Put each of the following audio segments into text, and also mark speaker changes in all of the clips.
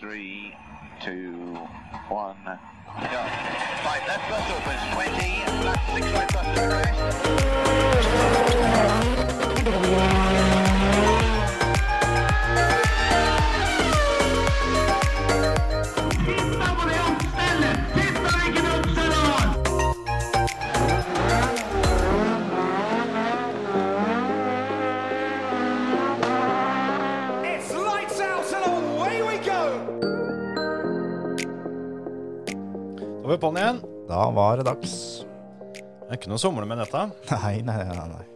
Speaker 1: Three, two, one, go. Right, left bus opens 20, left six right bus to rest.
Speaker 2: It's lights out and away we go!
Speaker 3: Da var vi på'n igjen.
Speaker 4: Da var det dags.
Speaker 3: Det er ikke noe å somle med dette.
Speaker 4: Nei, nei, nei. nei.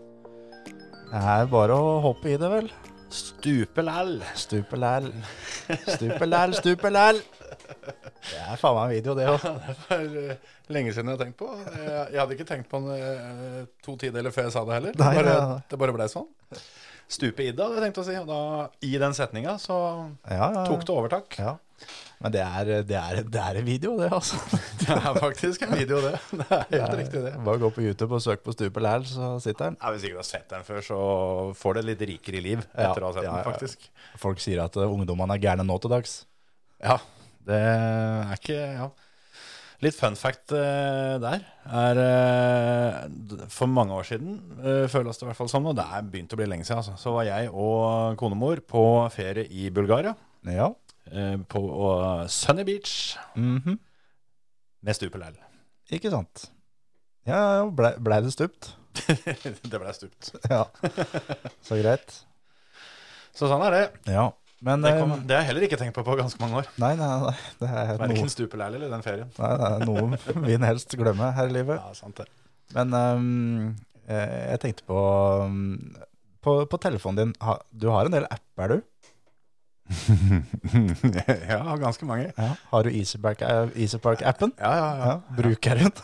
Speaker 4: Det er bare å hoppe i det, vel.
Speaker 3: Stupe læll.
Speaker 4: Stupelæl. Stupelæl, stupelæl. Det er faen meg en video, det òg.
Speaker 3: Det var eh, lenge siden jeg har tenkt på. Jeg, jeg hadde ikke tenkt på den eh, to tideler før jeg sa det heller.
Speaker 4: Nei,
Speaker 3: det, bare,
Speaker 4: nei, nei.
Speaker 3: det bare ble sånn. Stupe i det, hadde jeg tenkt å si. Og da, i den setninga, så
Speaker 4: Ja, ja.
Speaker 3: tok det overtak.
Speaker 4: Ja. Men det er, det, er, det er en video, det, altså.
Speaker 3: Det er faktisk en video, det. Det er helt riktig, det.
Speaker 4: Bare gå på YouTube og søk på stupelæl, så sitter den.
Speaker 3: Ja, hvis ikke du har sett den før, så får det litt rikere liv
Speaker 4: Ja,
Speaker 3: etter å ha sett
Speaker 4: ja, ja.
Speaker 3: den, faktisk.
Speaker 4: Folk sier at eh, ungdommene er gærne nå til dags.
Speaker 3: Ja, det er ikke ja. Litt fun fact eh, der er eh, d- For mange år siden, eh, føles det i hvert fall som, og det er begynt å bli lenge siden, altså, så var jeg og konemor på ferie i Bulgaria.
Speaker 4: Ja.
Speaker 3: eh, På eh, Sunny Beach
Speaker 4: Mhm.
Speaker 3: med stupelell.
Speaker 4: Ikke sant. Ja, blei ble det stupt?
Speaker 3: det ble stupt.
Speaker 4: Ja. Så greit.
Speaker 3: Så sånn er det.
Speaker 4: Ja. Men
Speaker 3: Det,
Speaker 4: eh,
Speaker 3: kom, det har jeg heller ikke tenkt på på ganske mange år.
Speaker 4: Nei, nei, nei. Det er noe
Speaker 3: Verken stupelell eller den ferien.
Speaker 4: Nei, det er noe vi helst glemmer her i livet.
Speaker 3: Ja, sant det.
Speaker 4: Men ehm, eh, jeg tenkte på ehm, på, på telefonen din, ha, du har en del apper, du.
Speaker 3: ja, ganske mange.
Speaker 4: Har du Easypark-appen? Easypark
Speaker 3: Ja, ja, ja.
Speaker 4: ja, bruker den.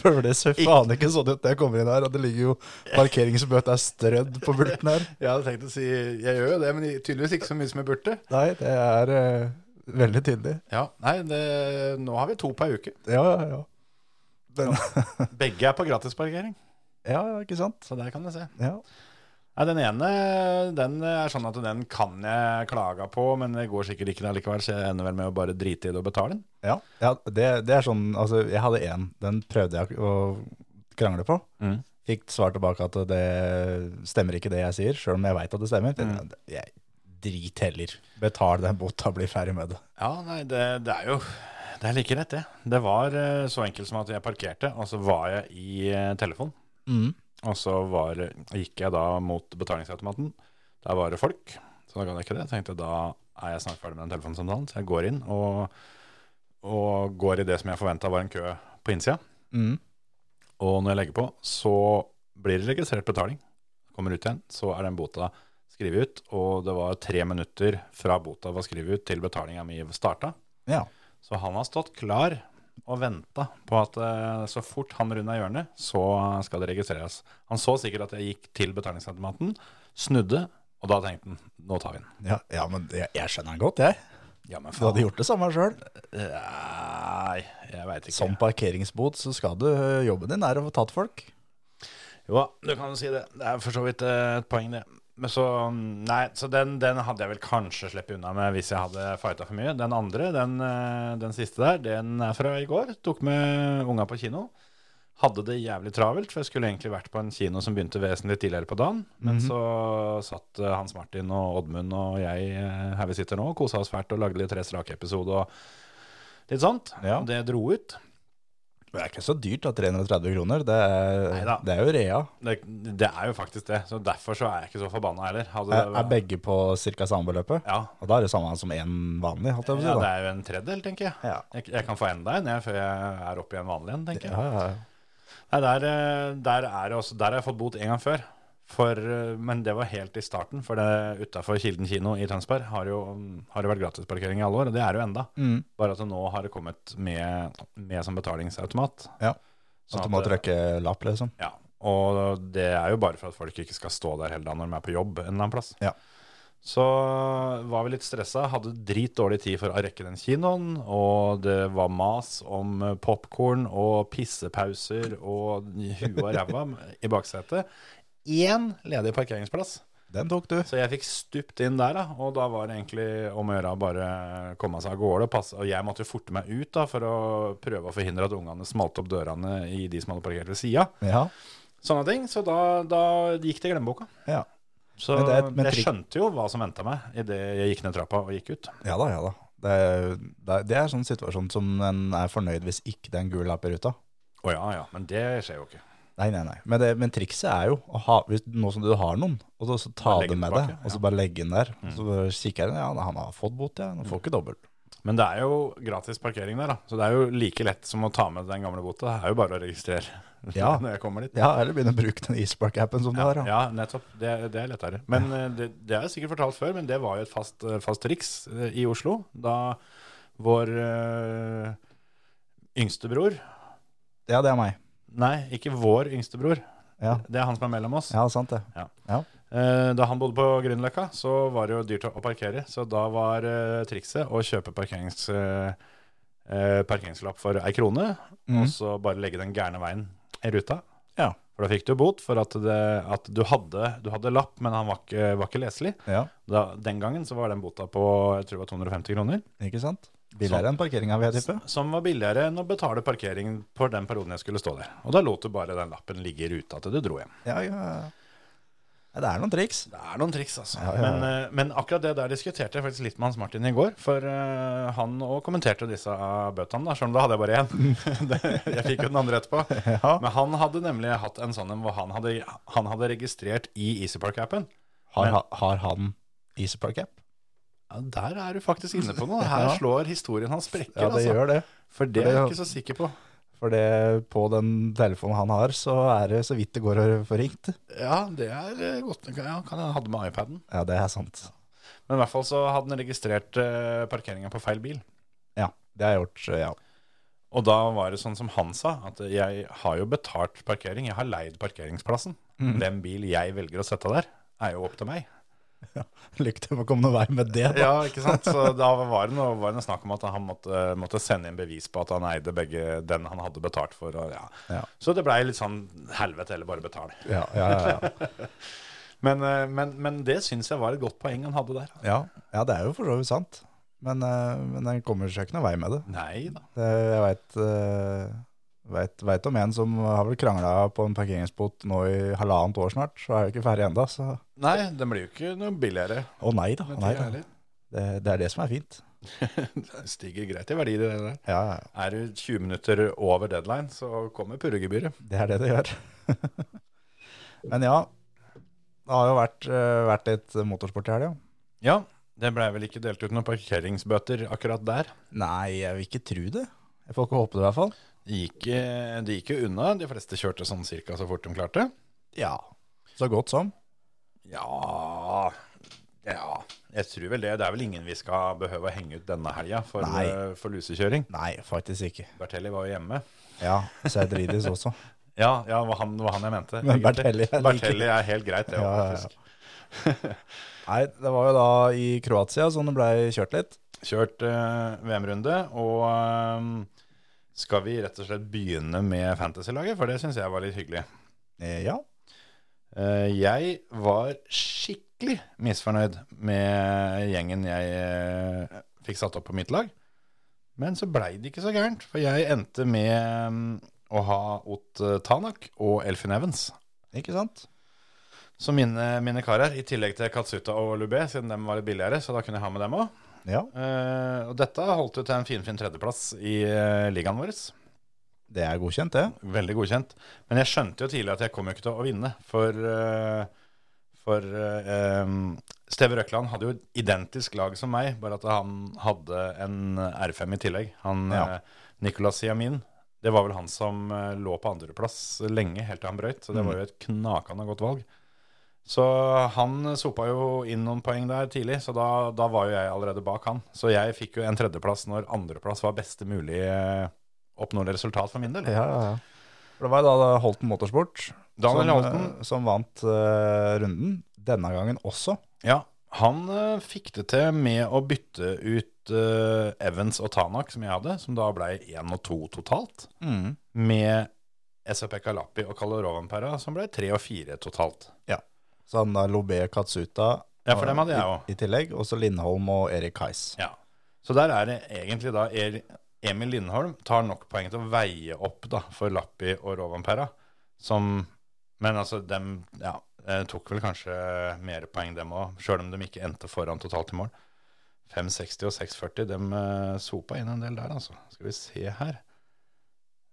Speaker 4: For det ser faen ikke sånn ut når jeg kommer inn her, og det ligger jo parkeringsbøter er strødd på bulten her.
Speaker 3: Jeg hadde tenkt å si Jeg gjør jo det, men tydeligvis ikke så mye som jeg burde.
Speaker 4: Nei, det er eh, veldig tydelig.
Speaker 3: Ja, nei, det, nå har vi to per uke.
Speaker 4: Ja, ja, ja. Den,
Speaker 3: Begge er på gratisparkering,
Speaker 4: ja, ikke sant?
Speaker 3: så der kan du se.
Speaker 4: Ja.
Speaker 3: Nei, Den ene den er sånn at den kan jeg klage på, men det går sikkert ikke likevel, så jeg ender vel med å bare drite i det og betale den.
Speaker 4: Ja, ja det, det er sånn Altså, jeg hadde én. Den prøvde jeg å krangle på.
Speaker 3: Mm.
Speaker 4: Fikk svar tilbake at det stemmer ikke det jeg sier, sjøl om jeg veit at det stemmer.
Speaker 3: Mm.
Speaker 4: Jeg drit heller. Betal den bota, bli ferdig med det.
Speaker 3: Ja, nei, det, det er jo Det er like rett, det. Det var eh, så enkelt som at jeg parkerte, og så var jeg i eh, telefon. Og så var, gikk jeg da mot betalingsautomaten. Der var det folk, så da gadd jeg ikke det. Jeg tenkte da er jeg snart ferdig med den telefonsamtalen, så jeg går inn og, og går i det som jeg forventa var en kø på innsida.
Speaker 4: Mm.
Speaker 3: Og når jeg legger på, så blir det registrert betaling. Kommer ut igjen, så er den bota skrevet ut. Og det var tre minutter fra bota var skrevet ut til betalinga mi starta.
Speaker 4: Ja.
Speaker 3: Så han har stått klar og venta på at eh, så fort han runda hjørnet, så skal det registreres. Han så sikkert at jeg gikk til betalingsautomaten, snudde, og da tenkte han nå tar vi den.
Speaker 4: Ja, ja, men jeg, jeg skjønner den godt, jeg.
Speaker 3: Ja, men
Speaker 4: Du hadde gjort Sånn det samme sjøl.
Speaker 3: Nei, jeg veit ikke.
Speaker 4: Som parkeringsbot så skal du øh, Jobben din er å få tatt folk.
Speaker 3: Jo da, du kan jo si det. Det er for så vidt eh, et poeng, det. Men så, mm, nei, så den, den hadde jeg vel kanskje sluppet unna med hvis jeg hadde fighta for mye. Den andre, den, eh, den siste der, den er fra i går. Tok med unga på kino. Hadde det jævlig travelt, for jeg skulle egentlig vært på en kino som begynte vesentlig tidligere på dagen. Men
Speaker 4: Mhm.
Speaker 3: så satt eh, Hans Martin og Oddmund og jeg eh, her vi sitter nå, kosa oss fælt og lagde litt Tre strake-episode og litt sånt.
Speaker 4: Ja.
Speaker 3: Og Det dro ut.
Speaker 4: Det er ikke så dyrt, da. 330 kroner. Det er,
Speaker 3: Neida.
Speaker 4: det er jo rea.
Speaker 3: Det, det er jo faktisk det. Så derfor så er jeg ikke så forbanna heller. Hadde
Speaker 4: Er,
Speaker 3: det-
Speaker 4: er begge på ca. samme beløpet?
Speaker 3: Ja,
Speaker 4: Og da er det samme som én vanlig, holdt jeg på å si.
Speaker 3: ja, det
Speaker 4: da.
Speaker 3: er jo en tredjedel, tenker jeg.
Speaker 4: Ja.
Speaker 3: Jeg, jeg kan få enda en jeg, før jeg er oppe i en vanlig en, tenker jeg.
Speaker 4: Ja, ja, ja.
Speaker 3: Nei, der, eh, der, er det også, der har jeg fått bot en gang før. For, eh, men det var helt i starten, for det utafor Kilden kino i Tønsberg har jo, mm, har jo vært gratisparkering i alle år, og det er det jo enda.
Speaker 4: Mm.
Speaker 3: Bare at det nå har det kommet med, med som betalingsautomat.
Speaker 4: Ja.
Speaker 3: Sånn
Speaker 4: at du må
Speaker 3: at det-
Speaker 4: trykke lapp, liksom.
Speaker 3: Ja, og det er jo bare for at folk ikke skal stå der hele dagen når de er på jobb en eller annen plass.
Speaker 4: Ja.
Speaker 3: Så var vi litt stressa, hadde dritdårlig tid for å rekke den kinoen, og det var mas om popkorn og pissepauser og huet og ræva i baksetet. Én ledig parkeringsplass.
Speaker 4: Den tok du.
Speaker 3: Så jeg fikk stupt inn der, da, og da var det egentlig om å gjøre å bare komme seg av gårde. Og, passe. og jeg måtte jo forte meg ut da, for å prøve å forhindre at ungene smalt opp dørene i de som hadde parkert ved sida.
Speaker 4: Ja.
Speaker 3: Sånne ting. Så da, da gikk det i glemmeboka.
Speaker 4: ja.
Speaker 3: Så
Speaker 4: Men det er et- men
Speaker 3: jeg
Speaker 4: trikk-
Speaker 3: skjønte jo hva som venta meg idet jeg gikk ned trappa og gikk ut.
Speaker 4: Ja da, ja da. Det er, det er, det er sånn situasjon som en er fornøyd hvis ikke det er en gul lapp i ruta.
Speaker 3: Å ja, ja, men det skjer jo ikke.
Speaker 4: Nei, nei, nei. Men, det, men trikset er jo å ha, hvis, nå som du har noen, og så, så ta
Speaker 3: Bare legge
Speaker 4: det
Speaker 3: den
Speaker 4: med
Speaker 3: tilbake,
Speaker 4: deg, og
Speaker 3: ja. Mm.
Speaker 4: så bare legge den der. Så bare kikker jeg, ja, han har fått bot, ja. Han får ikke dobbelt.
Speaker 3: Men det er jo gratis parkering der, da. Så det er jo like lett som å ta med den gamle bota. Det er jo bare å registrere
Speaker 4: Ja.
Speaker 3: når jeg kommer dit.
Speaker 4: Ja, eller begynne å bruke den Ispark-appen som du har, ja.
Speaker 3: Ja, nettopp. Det, det er lettere. Men eh, det, det er jeg sikkert fortalt før, men det var jo et fast, eh, fast triks eh, i Oslo. Da vår eh, yngste bror
Speaker 4: Ja, det er meg.
Speaker 3: Nei, ikke vår yngste bror.
Speaker 4: Ja,
Speaker 3: Det er han som er mellom oss.
Speaker 4: ja sant det.
Speaker 3: Ja.
Speaker 4: Ja.
Speaker 3: Eh, Da han bodde på Grünerløkka, så var det jo dyrt å å parkere. Så da var eh, trikset å kjøpe parkerings, eh, eh, parkeringslapp for ei krone,
Speaker 4: Mhm.
Speaker 3: og så bare legge den gærne veien i ruta.
Speaker 4: Ja.
Speaker 3: For da fikk du bot for at, det, at du, hadde, du hadde lapp, men han var ikke, var ikke leselig.
Speaker 4: Ja,
Speaker 3: Da, den gangen så var den bota på jeg tror det var 250 kroner.
Speaker 4: ikke sant? Billigere enn parkeringa, vil jeg tippe.
Speaker 3: Som var billigere enn å betale parkering for den perioden jeg skulle stå der. Og da lot du bare den lappen ligge i ruta til du dro hjem.
Speaker 4: Ja, ja. ja, Det er noen triks.
Speaker 3: Det er noen triks, altså.
Speaker 4: Ja, ja, ja.
Speaker 3: Men, eh, men akkurat det der diskuterte jeg faktisk litt med Hans Martin i går. For eh, han òg kommenterte disse bøtene, da, selv om da hadde jeg bare én. Det- jeg fikk jo den andre etterpå.
Speaker 4: Ja.
Speaker 3: Men han hadde nemlig hatt en sånn en hvor han hadde, han hadde registrert i Easypark-appen.
Speaker 4: Har,
Speaker 3: Men-
Speaker 4: ha- har han Ispark-app?
Speaker 3: Ja, der er du faktisk inne på noe. Her
Speaker 4: Ja.
Speaker 3: slår historien hans sprekker,
Speaker 4: Ja, det
Speaker 3: altså.
Speaker 4: gjør det.
Speaker 3: For det
Speaker 4: For
Speaker 3: er
Speaker 4: det-
Speaker 3: jeg ikke så sikker på.
Speaker 4: For det, på den telefonen han har, så er det så vidt det går å få ringt.
Speaker 3: Ja, det er eh, godt. Ja, kan jeg hadde med iPaden.
Speaker 4: Ja, det er sant.
Speaker 3: Men i hvert fall så hadde han registrert eh, parkeringa på feil bil.
Speaker 4: Ja, det har jeg gjort, ja.
Speaker 3: Og da var det sånn som han sa, at jeg har jo betalt parkering, jeg har leid parkeringsplassen. Den bil jeg velger å sette der, er jo opp til meg.
Speaker 4: Lykke til med å komme noen vei med det, da.
Speaker 3: Ja, ikke sant? Så da var det noe, var det noe snakk om at han måtte, måtte sende inn bevis på at han eide begge den han hadde betalt for. Og, ja.
Speaker 4: Ja.
Speaker 3: Så det blei litt sånn helvete eller bare betal.
Speaker 4: Ja, ja, ja, ja.
Speaker 3: Men, eh, men, men det syns jeg var et godt poeng han hadde der.
Speaker 4: ja. ja det er jo for så vidt sant. Men, eh, men den kommer seg ikke noen vei med det.
Speaker 3: Nei da.
Speaker 4: det jeg veit vet, vet om en som har vel krangla på en parkeringsbot nå i halvannet år snart, så er jeg jo ikke ferdig ennå, så
Speaker 3: Nei, den blir jo ikke noe billigere.
Speaker 4: Å nei da.
Speaker 3: Men
Speaker 4: Nei,
Speaker 3: det
Speaker 4: da.
Speaker 3: er litt-
Speaker 4: Det, det er det som er fint.
Speaker 3: Det stiger greit i verdi, det der.
Speaker 4: Ja, ja, ja.
Speaker 3: Er du 20 minutter over deadline, så kommer purregebyret.
Speaker 4: Det er det det gjør. Men ja, det har jo vært, eh, vært litt motorsport i helga.
Speaker 3: Ja, det blei vel ikke delt ut noen parkeringsbøter akkurat der.
Speaker 4: Nei, jeg vil ikke tro det. Jeg får ikke håpe det i hvert fall.
Speaker 3: Det gikk, eh, det gikk jo unna. De fleste kjørte sånn cirka så fort de klarte.
Speaker 4: Ja. Så godt som.
Speaker 3: Ja Ja, jeg tror vel det. Det er vel ingen vi skal behøve å henge ut denne helga for,
Speaker 4: Nei.
Speaker 3: eh, for lusekjøring.
Speaker 4: Nei, faktisk ikke.
Speaker 3: Bertelli var jo hjemme.
Speaker 4: Ja, Seidridis også.
Speaker 3: Ja, ja var han, var han jeg mente.
Speaker 4: Men
Speaker 3: egentlig.
Speaker 4: Bertelli er like-
Speaker 3: Bertelli er helt greit, det.
Speaker 4: Ja, ja, ja.
Speaker 3: faktisk.
Speaker 4: Nei, det var jo da i Kroatia som det blei kjørt litt.
Speaker 3: Kjørt eh, VM-runde, og eh, skal vi rett og slett begynne med Fantasy-laget? For det syns jeg var litt hyggelig.
Speaker 4: Eh, Ja.
Speaker 3: Eh, Jeg var skikkelig misfornøyd med gjengen jeg eh, fikk satt opp på mitt lag. Men så blei det ikke så gærent, for jeg endte med mm, å ha Ott eh, Tanak og Elfin Evans
Speaker 4: Ikke sant?
Speaker 3: som mine, mine karer, i tillegg til Katsuta og Lubé, siden dem var litt billigere. Så da kunne jeg ha med dem òg.
Speaker 4: Ja,
Speaker 3: og dette holdt ut til en finfin tredjeplass i eh, ligaen vår.
Speaker 4: det er godkjent, det.
Speaker 3: Veldig godkjent. Men jeg skjønte jo tidlig at jeg kom jo ikke til å vinne, for, eh, for eh, em, Steve Røkland hadde jo et identisk lag som meg, bare at han hadde en R5 i tillegg. Han,
Speaker 4: Ja.
Speaker 3: eh, Nicolas Siamin, det var vel han som eh, lå på andreplass lenge, helt til han brøyt, så det var jo et knakende godt valg. Så han sopa jo inn noen poeng der tidlig, så da, da var jo jeg allerede bak han. Så jeg fikk jo en tredjeplass når andreplass var beste mulig eh, oppnåelig resultat for min del.
Speaker 4: Ja, ja, ja. For det var jo da Holten Motorsport
Speaker 3: Daniel
Speaker 4: som,
Speaker 3: Holten.
Speaker 4: eh, som vant eh, runden. Denne gangen også.
Speaker 3: Ja, han eh, fikk det til med å bytte ut eh, Evans og Tanak, som jeg hadde, som da ble 1 og 2 totalt,
Speaker 4: Mm.
Speaker 3: med SAP Kalapi og Kalorovanpera, som ble 3 og 4 totalt.
Speaker 4: Så han da Lobé Katsuta
Speaker 3: Ja, for dem hadde jeg også.
Speaker 4: i, i tillegg. Og så Lindholm og Erik Heiss.
Speaker 3: Ja. Så der er det egentlig da Er- Emil Lindholm tar nok poeng til å veie opp da, for Lappi og Rovanpera. Som Men altså, dem ja, eh, tok vel kanskje mer poeng, dem òg. Sjøl om de ikke endte foran totalt i mål. 5,60 og 6,40. Dem eh, sopa inn en del der, altså. Skal vi se her.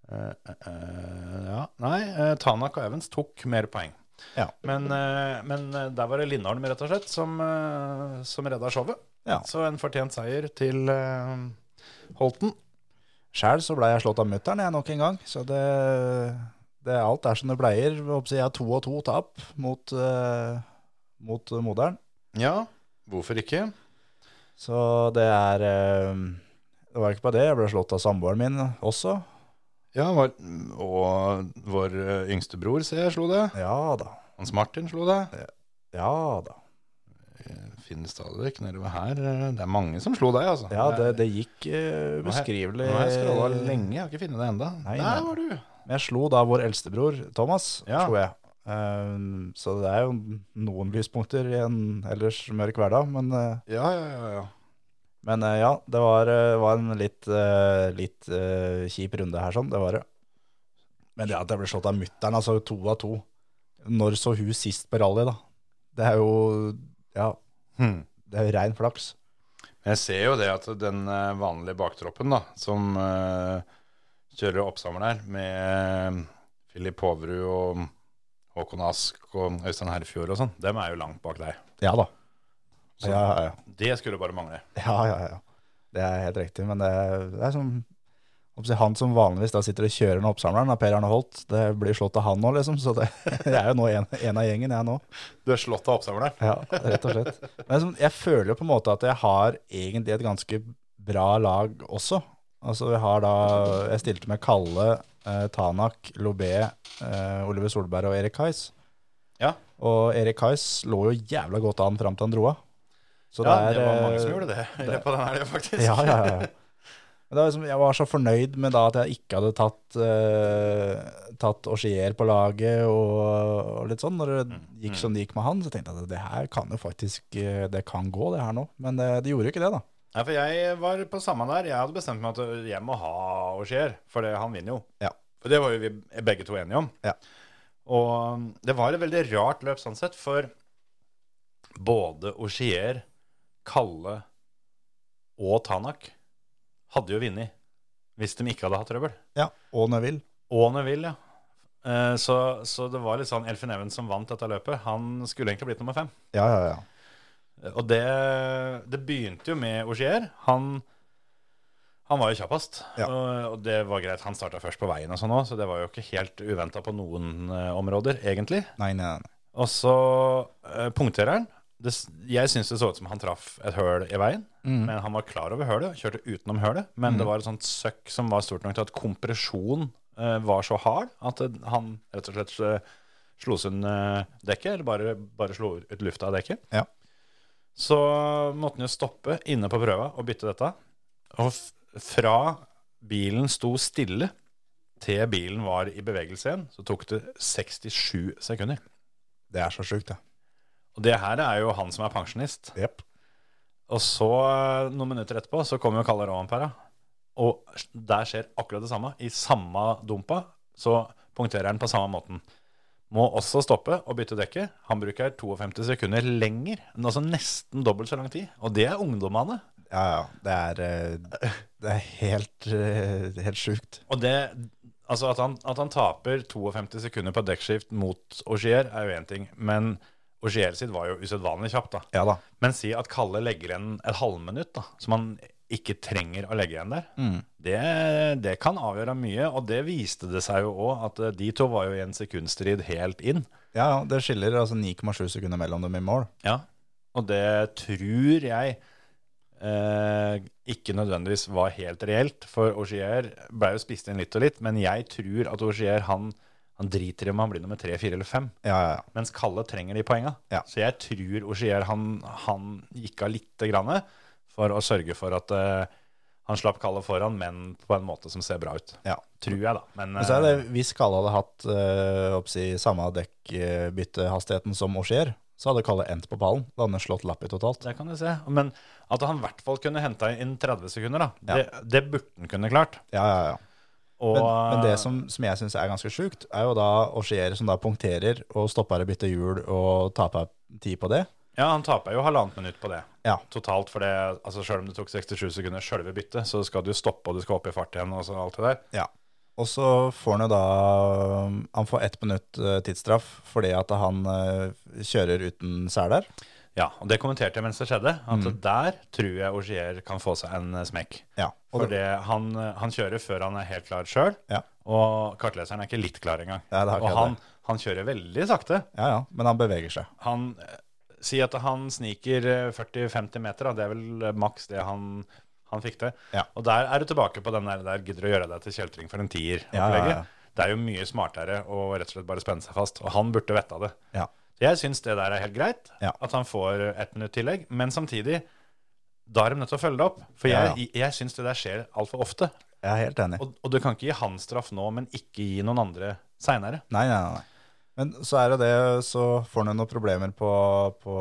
Speaker 3: Eh, eh, eh, ja. Nei, eh, Tanak og Evans tok mer poeng.
Speaker 4: Ja.
Speaker 3: Men, eh, men eh, der var det Lindholm, rett og slett, som, eh, som redda showet.
Speaker 4: Ja.
Speaker 3: Så en fortjent seier til eh, Holten.
Speaker 4: Sjæl så blei jeg slått av mutter'n, jeg, nok en gang. Så det, det Alt er som det bleier. Jeg håper Jeg har to og to tap mot, eh, mot moderen.
Speaker 3: Ja, hvorfor ikke?
Speaker 4: Så det er eh, Det var ikke bare det, jeg ble slått av samboeren min også.
Speaker 3: Ja, var, Og vår eh, yngste bror, ser jeg, slo det.
Speaker 4: Ja da.
Speaker 3: Hans Martin slo det.
Speaker 4: Ja da.
Speaker 3: Finnes stadig ikke nedover her. eh, Det er mange som slo deg, altså.
Speaker 4: Ja, det, det gikk eh, ubeskrivelig.
Speaker 3: Nå har jeg skråla lenge, jeg har ikke funnet det enda.
Speaker 4: Nei, nei.
Speaker 3: Der var du!
Speaker 4: Men jeg slo da vår eldstebror Thomas,
Speaker 3: Ja.
Speaker 4: slo jeg. Eh, så det er jo noen lyspunkter i en ellers mørk hverdag, men eh,
Speaker 3: Ja, ja, ja. ja.
Speaker 4: Men eh, ja, det var, eh, var en litt, eh, litt eh, kjip runde her, sånn. Det var det. Men det at jeg ble slått av mutter'n, altså to av to. Når så hun sist på rally, da? Det er jo Ja,
Speaker 3: Hmm.
Speaker 4: det er jo rein flaks.
Speaker 3: Jeg ser jo det at den eh, vanlige baktroppen da, som eh, kjører oppsammer der, med Filip Hoverud og Håkon Ask og Øystein Herfjord og sånn, dem er jo langt bak deg.
Speaker 4: Ja da.
Speaker 3: Så-
Speaker 4: Ja, ja, ja.
Speaker 3: Det skulle bare mangle.
Speaker 4: ja, ja, ja. Det er helt riktig. Men det er, det er som hva skal jeg si, Han som vanligvis da sitter og kjører den oppsamleren, da, Per Arne Holt, det blir slått av han nå, liksom. Så det, jeg er jo nå en, en av gjengen, jeg nå.
Speaker 3: Du er slått av oppsammer der.
Speaker 4: Ja, rett og slett. Men som, jeg føler jo på en måte at jeg har egentlig et ganske bra lag også. Altså jeg har da, jeg stilte med Kalle, eh, Tanak, Lobé, eh, Oliver Solberg og Erik Heiss.
Speaker 3: Ja.
Speaker 4: Og Erik Heiss lå jo jævla godt an fram til han dro av. Så
Speaker 3: ja, det var
Speaker 4: eh,
Speaker 3: mange som gjorde det i løpet av den helgen, faktisk.
Speaker 4: Ja, ja, ja. Men det var liksom, jeg var så fornøyd med da at jeg ikke hadde tatt, uh, tatt Auxier på laget og, og litt sånn. Når det gikk som det gikk med han, så tenkte jeg at det her kan jo faktisk eh, Det kan gå, det her nå. Men det, det gjorde jo ikke det, da.
Speaker 3: Nei, for jeg var på samme der. Jeg hadde bestemt meg at jeg må ha Auxier, for det, han vinner jo.
Speaker 4: Ja.
Speaker 3: For det var jo vi begge to enige om.
Speaker 4: Ja.
Speaker 3: Og um, det var et veldig rart løp sånn sett, for både Auxier, Kalle og Tanak hadde jo vunnet hvis de ikke hadde hatt trøbbel.
Speaker 4: Ja, Og Neville.
Speaker 3: Og Neville, ja. Eh, Så, så det var litt sånn Elfin Evans som vant dette løpet. Han skulle egentlig blitt nummer fem.
Speaker 4: Ja, ja, ja.
Speaker 3: Eh, Og det, det begynte jo med Augier. Han, han var jo kjappest,
Speaker 4: Ja.
Speaker 3: og, og det var greit. Han starta først på veien, og sånn også, så det var jo ikke helt uventa på noen eh, områder, egentlig.
Speaker 4: Nei, nei, nei.
Speaker 3: Og så eh, punktereren. Det, s- jeg syns det så ut som han traff et høl i veien, men han var klar over hølet, kjørte utenom hølet. Men det var et sånt søkk som var stort nok til at kompresjon eh, var så hard at det, han rett og slett eh, slo sund eh, dekket, eller bare, bare slo ut lufta av dekket.
Speaker 4: Ja.
Speaker 3: Så måtte han jo stoppe inne på prøva og bytte dette. Og f fra bilen sto stille til bilen var i bevegelse igjen, så tok det 67 sekunder.
Speaker 4: Det er så sjukt, det.
Speaker 3: Og det her er jo han som er pensjonist.
Speaker 4: Jepp.
Speaker 3: Og så, eh, noen minutter etterpå, så kommer jo Kalle Rovanpera. Og der skjer akkurat det samme. I samme dumpa så punkterer han på samme måten. Må også stoppe og bytte dekke. Han bruker 52 sekunder lenger, men altså nesten dobbelt så lang tid. Og det er ungdommene.
Speaker 4: Ja, ja. Det er, eh, det er helt, eh, helt sjukt.
Speaker 3: Og det, altså at han, at han taper 52 sekunder på dekkskift mot Augier, er jo én ting. Men Augier sitt var jo usedvanlig kjapt, da.
Speaker 4: Ja da.
Speaker 3: Men si at Kalle legger igjen et halvminutt, da, som han ikke trenger å legge igjen der. Det, det kan avgjøre mye, og det viste det seg jo òg, at eh, de to var jo i en sekundstrid helt inn.
Speaker 4: Ja, ja. Det skiller altså 9,7 sekunder mellom dem i mål.
Speaker 3: Ja. Og det tror jeg eh, ikke nødvendigvis var helt reelt, for Augier ble jo spist inn litt og litt, men jeg tror at Augier han, han driter i om han blir nummer tre, fire eller fem.
Speaker 4: Ja, ja, ja.
Speaker 3: Mens Kalle trenger de poenga.
Speaker 4: Ja.
Speaker 3: Så jeg tror Augier han, han gikk av lite grann for å sørge for at eh, han slapp Kalle foran, men på en måte som ser bra ut.
Speaker 4: ja.
Speaker 3: Tror jeg, da. Men,
Speaker 4: Men så er det,
Speaker 3: eh,
Speaker 4: hvis Kalle hadde hatt eh, oppsi, samme dekkbyttehastigheten som Auxier, så hadde Kalle endt på pallen. Da hadde han slått Lappi totalt.
Speaker 3: Det kan du se. Men at han i hvert fall kunne henta inn 30 sekunder, da,
Speaker 4: Ja.
Speaker 3: det, det burde han kunne klart.
Speaker 4: Ja, ja, ja.
Speaker 3: Og,
Speaker 4: Men, men det som, som jeg syns er ganske sjukt, er jo da Ogier som da punkterer og stopper å bytte hjul og taper tid på det.
Speaker 3: Ja, han taper jo halvannet minutt på det.
Speaker 4: Ja.
Speaker 3: Totalt, for det, altså selv om det tok 67 sekunder sjølve byttet, så skal du stoppe, og du skal opp i fart igjen, og så alt det der.
Speaker 4: Ja. Og så får han jo da Han får ett minutt eh, tidsstraff fordi at han eh, kjører uten seler.
Speaker 3: Ja, og det kommenterte jeg mens det skjedde, at der tror jeg Ogier kan få seg en eh, smekk.
Speaker 4: Mm. Ja. Og
Speaker 3: For det, han, eh, han kjører før han er helt klar sjøl,
Speaker 4: Ja.
Speaker 3: og kartleseren er ikke litt klar engang.
Speaker 4: Ja, det
Speaker 3: og
Speaker 4: er akkurat
Speaker 3: han,
Speaker 4: det.
Speaker 3: han kjører veldig sakte.
Speaker 4: Ja, ja. Men han beveger seg.
Speaker 3: Han eh, sier at han sniker eh, 40-50 meter, da. det er vel eh, maks det han, han fikk til.
Speaker 4: Ja.
Speaker 3: Og der er du tilbake på den der, der gidder du å gjøre deg til kjeltring for en tier.
Speaker 4: Ja, ja, ja.
Speaker 3: Det er jo mye smartere å rett og slett bare spenne seg fast, og han burde vette av det.
Speaker 4: Ja.
Speaker 3: Så jeg syns det der er helt greit,
Speaker 4: Ja.
Speaker 3: at han får eh, ett minutt tillegg, men samtidig da er de nødt til å følge det opp, for
Speaker 4: Ja,
Speaker 3: jeg, jeg syns det der skjer altfor ofte.
Speaker 4: Jeg er helt enig.
Speaker 3: Og, og du kan ikke gi han straff nå, men ikke gi noen andre seinere.
Speaker 4: Nei, nei, nei. Men så er det det, så får han jo noen problemer på, på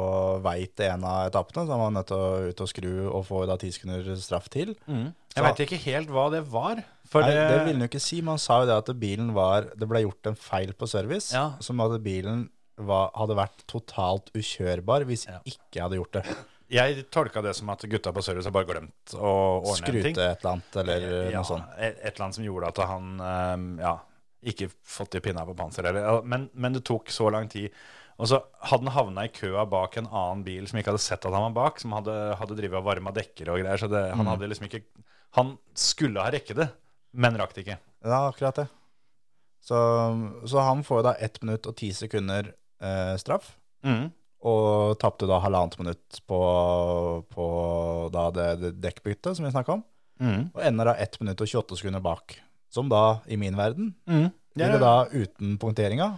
Speaker 4: vei til en av etappene, så han var nødt til å ut og skru og får da ti sekunder straff til.
Speaker 3: Mm. Jeg veit ikke helt hva det var. For eh,
Speaker 4: Nei, det
Speaker 3: det-
Speaker 4: ville han jo ikke si, men han sa jo det at bilen var Det ble gjort en feil på service,
Speaker 3: Ja.
Speaker 4: som at bilen var, hadde vært totalt ukjørbar hvis
Speaker 3: Ja.
Speaker 4: ikke jeg hadde gjort det.
Speaker 3: Jeg tolka det som at gutta på service har bare glemt å ordne en
Speaker 4: Skrute
Speaker 3: ting.
Speaker 4: et eller annet, eller
Speaker 3: ja,
Speaker 4: noe sånt.
Speaker 3: Et, et eller annet som gjorde at han eh, ja, ikke fått i pinna på panseret. eller- ja, Men, men det tok så lang tid. Og så hadde han havna i køa bak en annen bil som ikke hadde sett at han var bak, som hadde, hadde drivet og varma dekker og greier. Så det,
Speaker 4: Mm.
Speaker 3: han hadde liksom ikke Han skulle ha rekket det, men rakk det ikke.
Speaker 4: Ja, akkurat det. Så, så han får jo da ett minutt og ti sekunder eh, straff. Og tapte da halvannet minutt på, på da det, det dekkbyttet som vi snakka om.
Speaker 3: Mm.
Speaker 4: Og ender da 1 minutt og 28 sekunder bak. Som da, i min verden,
Speaker 3: Det
Speaker 4: blir
Speaker 3: er
Speaker 4: det mm. da uten punkteringa.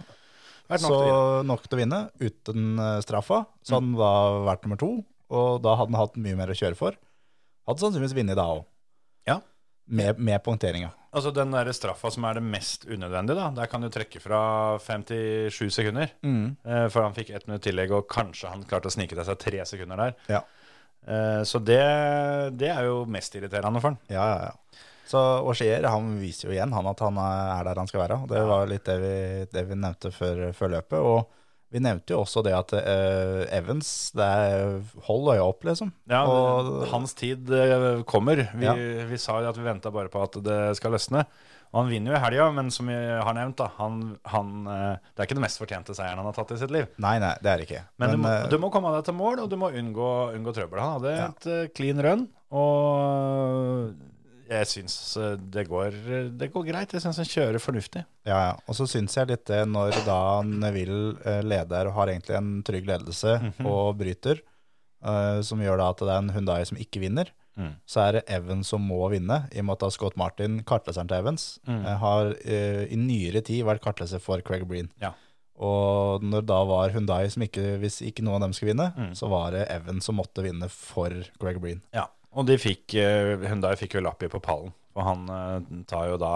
Speaker 3: vært nok
Speaker 4: så
Speaker 3: til å
Speaker 4: nok til å vinne. Uten eh, straffa. Så hadde han da vært nummer to. Og da hadde han hatt mye mer å kjøre for. Hadde sannsynligvis vunnet da òg.
Speaker 3: Ja.
Speaker 4: Med, med punkteringa.
Speaker 3: Altså den der straffa som er det mest unødvendige, da. Der kan du trekke fra 57 sekunder. Eh, For han fikk ett minutt tillegg, og kanskje han klarte å snike til seg tre sekunder der.
Speaker 4: Ja.
Speaker 3: Eh, Så det, det er jo mest irriterende for han.
Speaker 4: Ja, ja, ja. Så Auxier, han viser jo igjen han at han er der han skal være. og Det var litt det vi, det vi nevnte før, før løpet. Og vi nevnte jo også det at eh, Evans det er, Hold øya opp, liksom.
Speaker 3: Ja,
Speaker 4: og,
Speaker 3: Hans tid eh, kommer. Vi,
Speaker 4: Ja.
Speaker 3: vi sa jo at vi venta bare på at det skal løsne. Og han vinner jo i helga, men som vi har nevnt, da, han, han, eh, det er ikke den mest fortjente seieren han har tatt i sitt liv.
Speaker 4: Nei, nei, det er det ikke.
Speaker 3: Men, du, må,
Speaker 4: eh,
Speaker 3: du må komme deg til mål, og du må unngå, unngå trøbbel. Han hadde
Speaker 4: Ja.
Speaker 3: et eh, clean run, og jeg syns eh, det går, det går greit. Jeg syns han kjører fornuftig.
Speaker 4: Ja, ja. Og så syns jeg litt det når da Neville eh, leder og har egentlig en trygg ledelse og bryter, eh, som gjør da at det er en Hundai som ikke vinner,
Speaker 3: Mm.
Speaker 4: så er det Evans som må vinne, i og med at da Scott Martin, kartleseren til Evans, eh, har eh, i nyere tid vært kartleser for Craig Breen.
Speaker 3: Ja.
Speaker 4: Og når da var Hundai som ikke, hvis ikke noen av dem skulle vinne, så var det Evans som måtte vinne for Craig Breen.
Speaker 3: Ja, og de fikk, eh, Hyundai fikk jo Lappi på pallen. Og han eh, tar jo da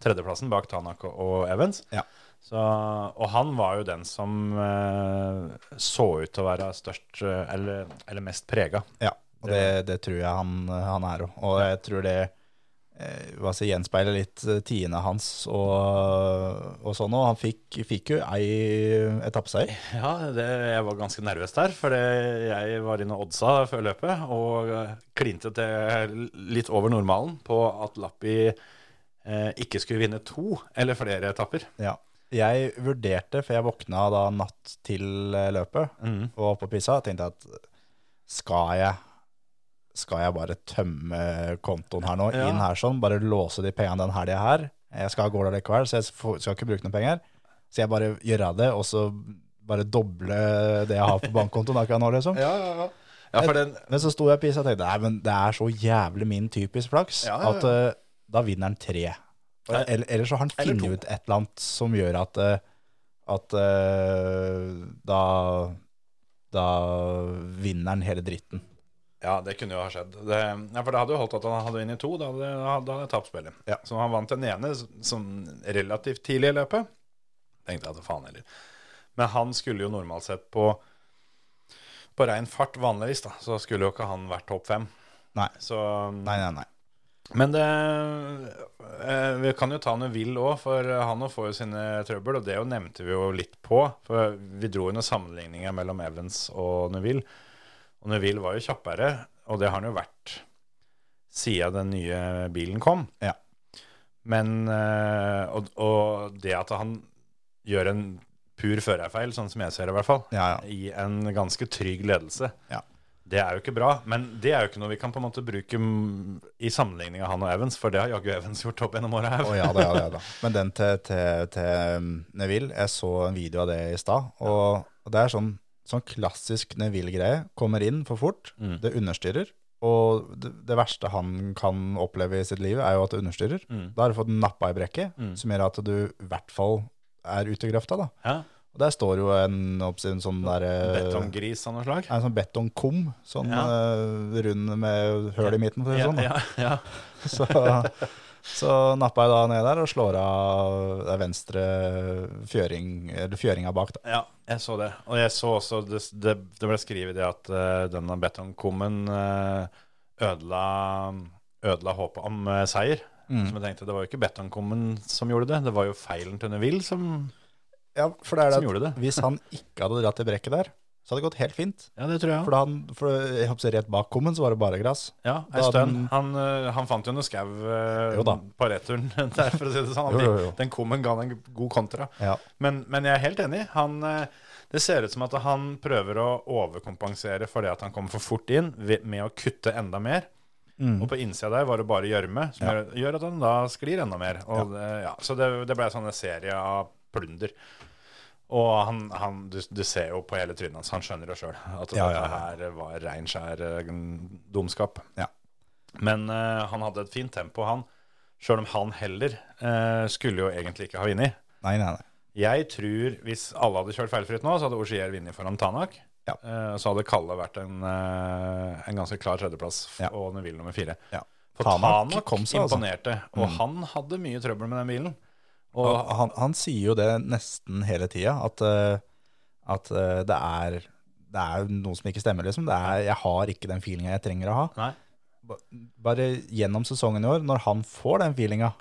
Speaker 3: tredjeplassen bak Tanak og- og Evans.
Speaker 4: Ja.
Speaker 3: Så, og han var jo den som eh, så ut til å være størst, eh, eller, eller mest prega.
Speaker 4: Ja, og det, det tror jeg han, han er òg. Og jeg tror det eh, hva skal jeg si, gjenspeiler litt eh, tidene hans og, og sånn òg. Han fikk, fikk jo ei etappeseier.
Speaker 3: Ja, det, jeg var ganske nervøs der, for jeg var inne og oddsa før løpet, og eh, klinte til litt over normalen på at Lappi eh, ikke skulle vinne to eller flere etapper.
Speaker 4: Ja. Jeg vurderte, for jeg våkna da natt til eh, løpet
Speaker 3: Mm.
Speaker 4: og var oppe og pissa, tenkte jeg at skal jeg skal jeg bare tømme kontoen her nå,
Speaker 3: Ja.
Speaker 4: inn her sånn, bare låse de pengene den helga her. Jeg skal av gårde likevel, så jeg får- skal ikke bruke noen penger. Så jeg bare gjør av det, og så bare doble det jeg har på bankkontoen akkurat nå, liksom.
Speaker 3: Ja, ja, ja. Ja, for den,
Speaker 4: Men så sto jeg og pissa og tenkte nei, men det er så jævlig min typisk flaks
Speaker 3: Ja, ja, ja.
Speaker 4: at eh, da vinner han tre. Og-
Speaker 3: Nei.
Speaker 4: Eller, eller så har han
Speaker 3: Eller to.
Speaker 4: funnet ut et eller annet som gjør at, eh, at eh, da, da vinner han hele dritten.
Speaker 3: ja, det kunne jo ha skjedd. Det, ja, for det hadde jo holdt at han hadde vunnet to, da hadde da hadde han tapt spillet.
Speaker 4: Ja.
Speaker 3: Så han vant den ene sånn relativt tidlig i løpet. Tenkte jeg at faen heller. Men han skulle jo normalt sett på på rein fart vanligvis, da, så skulle jo ikke han vært topp fem.
Speaker 4: Nei.
Speaker 3: Så
Speaker 4: Nei, nei, nei.
Speaker 3: Men det eh, Vi kan jo ta han Will òg, for eh, han også får jo sine trøbbel. Og det jo nevnte vi jo litt på. For vi dro jo noen sammenligninger mellom Evans og Neville. Og Neville var jo kjappere, og det har han jo vært siden den nye bilen kom.
Speaker 4: Ja.
Speaker 3: Men eh, og, og det at han gjør en pur førerfeil, sånn som jeg ser det i hvert fall,
Speaker 4: Ja, ja.
Speaker 3: i en ganske trygg ledelse.
Speaker 4: Ja.
Speaker 3: Det er jo ikke bra, men det er jo ikke noe vi kan på en måte bruke mm, i sammenligning av han og Evans, for det har jaggu Evans gjort opp gjennom åra her.
Speaker 4: Å ja da, ja da, ja da. Men den til, til, til um, Neville, jeg så en video av det i stad, og, og det er sånn, sånn klassisk Neville-greie. Kommer inn for fort,
Speaker 3: Mm.
Speaker 4: det understyrer, og det, det verste han kan oppleve i sitt liv er jo at det understyrer.
Speaker 3: Mm.
Speaker 4: Da har du fått nappa i brekket,
Speaker 3: Mm.
Speaker 4: som gjør at du i hvert fall er ute i grøfta da.
Speaker 3: Ja.
Speaker 4: Og der står jo en, oppsi- en sånn der... eh,
Speaker 3: Betonggris av noe slag.
Speaker 4: En sånn betongkum, sånn
Speaker 3: Ja.
Speaker 4: eh, rund med høl i midten, for å si det sånn. da.
Speaker 3: ja, ja.
Speaker 4: Så, så nappa jeg da ned der og slår av det venstre fjøring, eller fjøringa bak. da.
Speaker 3: Ja, jeg så det. Og jeg så også det, det, det ble skrevet det at eh, denne betongkummen eh, ødela, ødela håpet om eh, seier.
Speaker 4: Mm.
Speaker 3: Som jeg tenkte, Det var jo ikke betongkummen som gjorde det, det var jo feilen til Neville som
Speaker 4: Ja, for det er
Speaker 3: Som
Speaker 4: det,
Speaker 3: gjorde
Speaker 4: at
Speaker 3: det.
Speaker 4: Hvis han ikke hadde dratt i brekket der, så hadde det gått helt fint.
Speaker 3: Ja, det tror jeg.
Speaker 4: For, da han, for jeg håper å si rett bak kummen så var det bare gress.
Speaker 3: Ja, ei
Speaker 4: Da
Speaker 3: stund.
Speaker 4: den-
Speaker 3: Han, eh, han fant jo noe skau eh,
Speaker 4: Jo da.
Speaker 3: på returen der, for å si det sånn.
Speaker 4: Jo,
Speaker 3: Den,
Speaker 4: jo, jo.
Speaker 3: den kummen ga han en god kontra.
Speaker 4: Ja.
Speaker 3: Men, men jeg er helt enig. Han, eh, det ser ut som at han prøver å overkompensere for det at han kom for fort inn, ved- med å kutte enda mer.
Speaker 4: Mm.
Speaker 3: Og på innsida der var det bare gjørme, som gjør, gjør at han da sklir enda mer. Og, det, ja, så det, det ble sånn en serie av plunder. Og han, han, du, du ser jo på hele trynet hans, han skjønner det sjøl, at
Speaker 4: Ja, ja,
Speaker 3: dette
Speaker 4: ja.
Speaker 3: her var rein skjær eh, dumskap.
Speaker 4: Ja.
Speaker 3: Men eh, han hadde et fint tempo, han. Sjøl om han heller eh, skulle jo egentlig ikke ha vunnet.
Speaker 4: Nei, nei, nei.
Speaker 3: Jeg tror hvis alle hadde kjørt feilfritt nå, så hadde Ogier vunnet foran Tanak.
Speaker 4: Ja.
Speaker 3: Eh, så hadde Kalle vært en, eh, en ganske klar tredjeplass, f-
Speaker 4: Ja.
Speaker 3: og Neville nummer fire.
Speaker 4: Ja.
Speaker 3: For
Speaker 4: Tanak
Speaker 3: Tanak,
Speaker 4: kom seg, altså.
Speaker 3: imponerte, og han hadde mye trøbbel med den bilen. Og,
Speaker 4: Og han, han sier jo det nesten hele tida, at, eh, at eh, det er det er noe som ikke stemmer, liksom. Det er, jeg har ikke den feelinga jeg trenger å ha.
Speaker 3: nei,
Speaker 4: Ba- bare gjennom sesongen i år, når han får den feelinga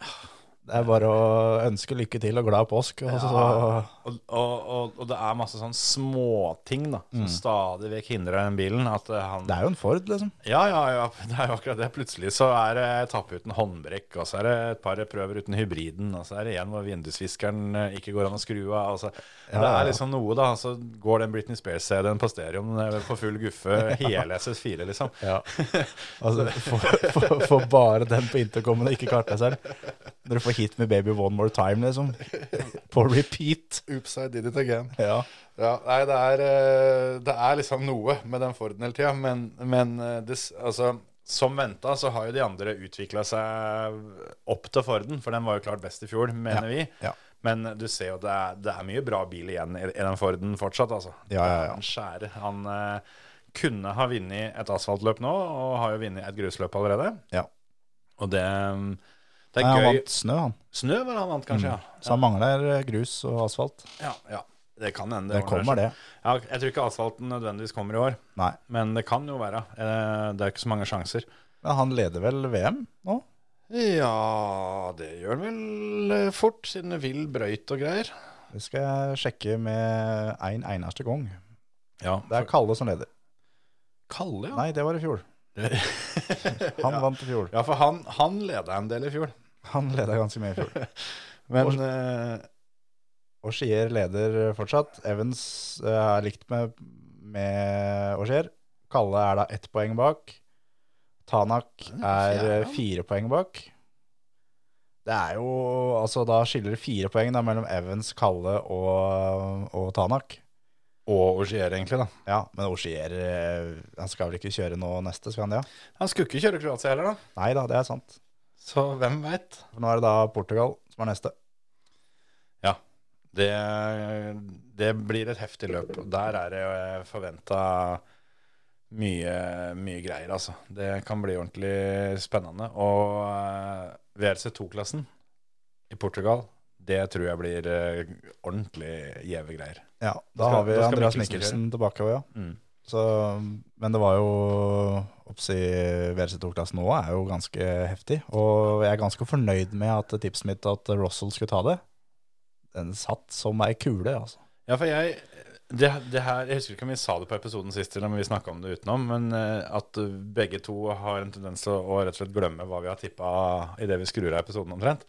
Speaker 4: Det er bare å ønske lykke til og glad påsk. Og så,
Speaker 3: og, og, og, og det er masse sånn småting da, som stadig vekk hindrer den bilen. At eh, han,
Speaker 4: Mm. det er jo en Ford, liksom.
Speaker 3: Ja, ja, ja, det er jo akkurat det. Plutselig så er det etappe uten håndbrekk, og så er det et par prøver uten hybriden, og så er det en hvor vindusviskeren eh, ikke går an å skru av. Altså,
Speaker 4: Ja,
Speaker 3: det
Speaker 4: ja, ja.
Speaker 3: er liksom noe, da. Så går den Britney Spears-CD-en på stereoen eh, på full guffe, hele SS4, liksom.
Speaker 4: Altså, få- få- Få bare den på intercomen og ikke karte seg selv. Når du får hit med 'Baby One More Time', liksom. På repeat.
Speaker 3: Oops, I did it again.
Speaker 4: Ja.
Speaker 3: Ja, nei, det er, eh, det er liksom noe med den Forden hele tida, men, men eh, det, s- altså, som venta så har jo de andre utvikla seg opp til Forden, for den var jo klart best i fjor, mener vi.
Speaker 4: ja.
Speaker 3: Men du ser jo det er, det er mye bra bil igjen i, i den Forden fortsatt, altså.
Speaker 4: Ja, ja, ja.
Speaker 3: Han skjærer. Han eh, kunne ha vunnet et asfaltløp nå, og har jo vunnet et grusløp allerede.
Speaker 4: ja.
Speaker 3: Og det, mm, det
Speaker 4: Nei,
Speaker 3: er
Speaker 4: han
Speaker 3: gøy.
Speaker 4: vant Mm. snø, han.
Speaker 3: Snø var det han vant, kanskje, ja.
Speaker 4: Så han mangler eh, grus og asfalt.
Speaker 3: ja. ja. Det kan hende.
Speaker 4: Det
Speaker 3: ordner
Speaker 4: kommer,
Speaker 3: seg.
Speaker 4: det.
Speaker 3: Ja, jeg tror ikke asfalten nødvendigvis kommer i år.
Speaker 4: Nei.
Speaker 3: Men det kan jo være. Eh, Det er ikke så mange sjanser.
Speaker 4: Men han leder vel VM nå?
Speaker 3: Ja, det gjør han vel eh, fort, siden det vil brøyt og greier.
Speaker 4: Det skal jeg sjekke med en eneste gang.
Speaker 3: Ja,
Speaker 4: Det er Kalle som leder.
Speaker 3: Kalle, ja.
Speaker 4: Nei, det var i fjor. Han vant i fjor.
Speaker 3: Ja, for han, han leda en del i fjor.
Speaker 4: Han leda ganske mye i fjor.
Speaker 3: Men
Speaker 4: Og-
Speaker 3: eh,
Speaker 4: Og Skier leder fortsatt. Evans eh, er likt med, med Skier. Kalle er da ett poeng bak. Tanak er eh, fire poeng bak. Det er jo Altså, da skiller det fire poeng da, mellom Evans, Kalle og, og Tanak.
Speaker 3: Og Ogier, egentlig, da.
Speaker 4: Ja, men Osier Han skal vel ikke kjøre nå neste, skal han det? ja?
Speaker 3: Han skulle ikke kjøre Kroatia heller, da.
Speaker 4: Nei da, det er sant.
Speaker 3: Så hvem veit?
Speaker 4: For nå er det da Portugal som er neste.
Speaker 3: Ja. Det, det blir et heftig løp. og Der er det forventa mye, mye greier, altså. Det kan bli ordentlig spennende. Og eh, VRC2-klassen i Portugal, det tror jeg blir eh, ordentlig gjeve greier.
Speaker 4: Ja, da
Speaker 3: skal-
Speaker 4: har vi
Speaker 3: da skal
Speaker 4: Andreas
Speaker 3: Mikkelsen
Speaker 4: Mikkelsen tilbake òg, ja.
Speaker 3: Mm.
Speaker 4: Så, men det var jo oppsi WRC2-klassen nå er jo ganske heftig. Og jeg er ganske fornøyd med at tipset mitt at Russell skulle ta det. Den satt som ei kule, altså.
Speaker 3: Ja, for jeg det, det her, Jeg husker ikke om vi sa det på episoden sist, eller om vi snakka om det utenom, men eh, at begge to har en tendens til å å rett og slett glemme hva vi har tippa idet vi skrur av episoden, omtrent.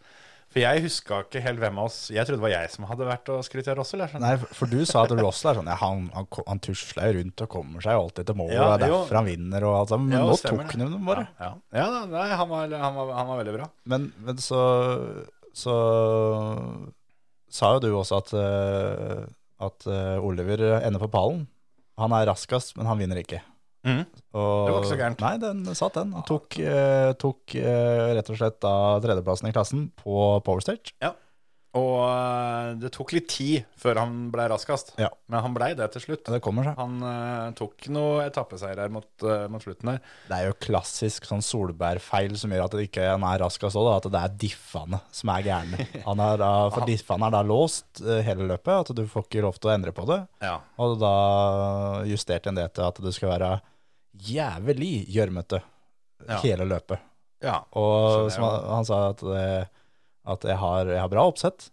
Speaker 3: For jeg huska ikke helt hvem av oss Jeg trodde det var jeg som hadde vært og skrytt av Rossel. Jeg skjønner.
Speaker 4: Nei, for for du sa at Russell er sånn ja, han, han, ko- han tusler jo rundt og kommer seg jo alltid til mål,
Speaker 3: Ja,
Speaker 4: og det er
Speaker 3: jo.
Speaker 4: derfor han vinner og alt sammen. Men
Speaker 3: Ja,
Speaker 4: nå
Speaker 3: stemmer
Speaker 4: tok
Speaker 3: det.
Speaker 4: han dem bare.
Speaker 3: Ja, ja. ja da, nei, han, var, han, var, han var veldig bra.
Speaker 4: Men, men så, så sa jo du også at, eh, at eh, Oliver ender på pallen. Han er raskest, men han vinner ikke.
Speaker 3: Mhm.
Speaker 4: Og,
Speaker 3: Det var ikke så gærent.
Speaker 4: Nei, den satt den. Han tok, eh, tok eh, rett og slett da tredjeplassen i klassen på Power Stage.
Speaker 3: Og eh, det tok litt tid før han blei raskest,
Speaker 4: Ja.
Speaker 3: men han blei det til slutt.
Speaker 4: Men det kommer seg.
Speaker 3: Han eh, tok noen etappeseier her mot, eh, mot slutten der.
Speaker 4: Det er jo klassisk sånn solbærfeil som gjør at det ikke han er raskest òg, at det er diffene som er gærne. Han er da, for diffene er da låst eh, hele løpet, at du får ikke lov til å endre på det.
Speaker 3: Ja.
Speaker 4: Og da justerte en det til at det skal være jævlig gjørmete
Speaker 3: Ja.
Speaker 4: hele løpet.
Speaker 3: ja. Skjønner
Speaker 4: Og
Speaker 3: jeg
Speaker 4: som han, han sa at, det, at jeg, har, jeg har bra oppsett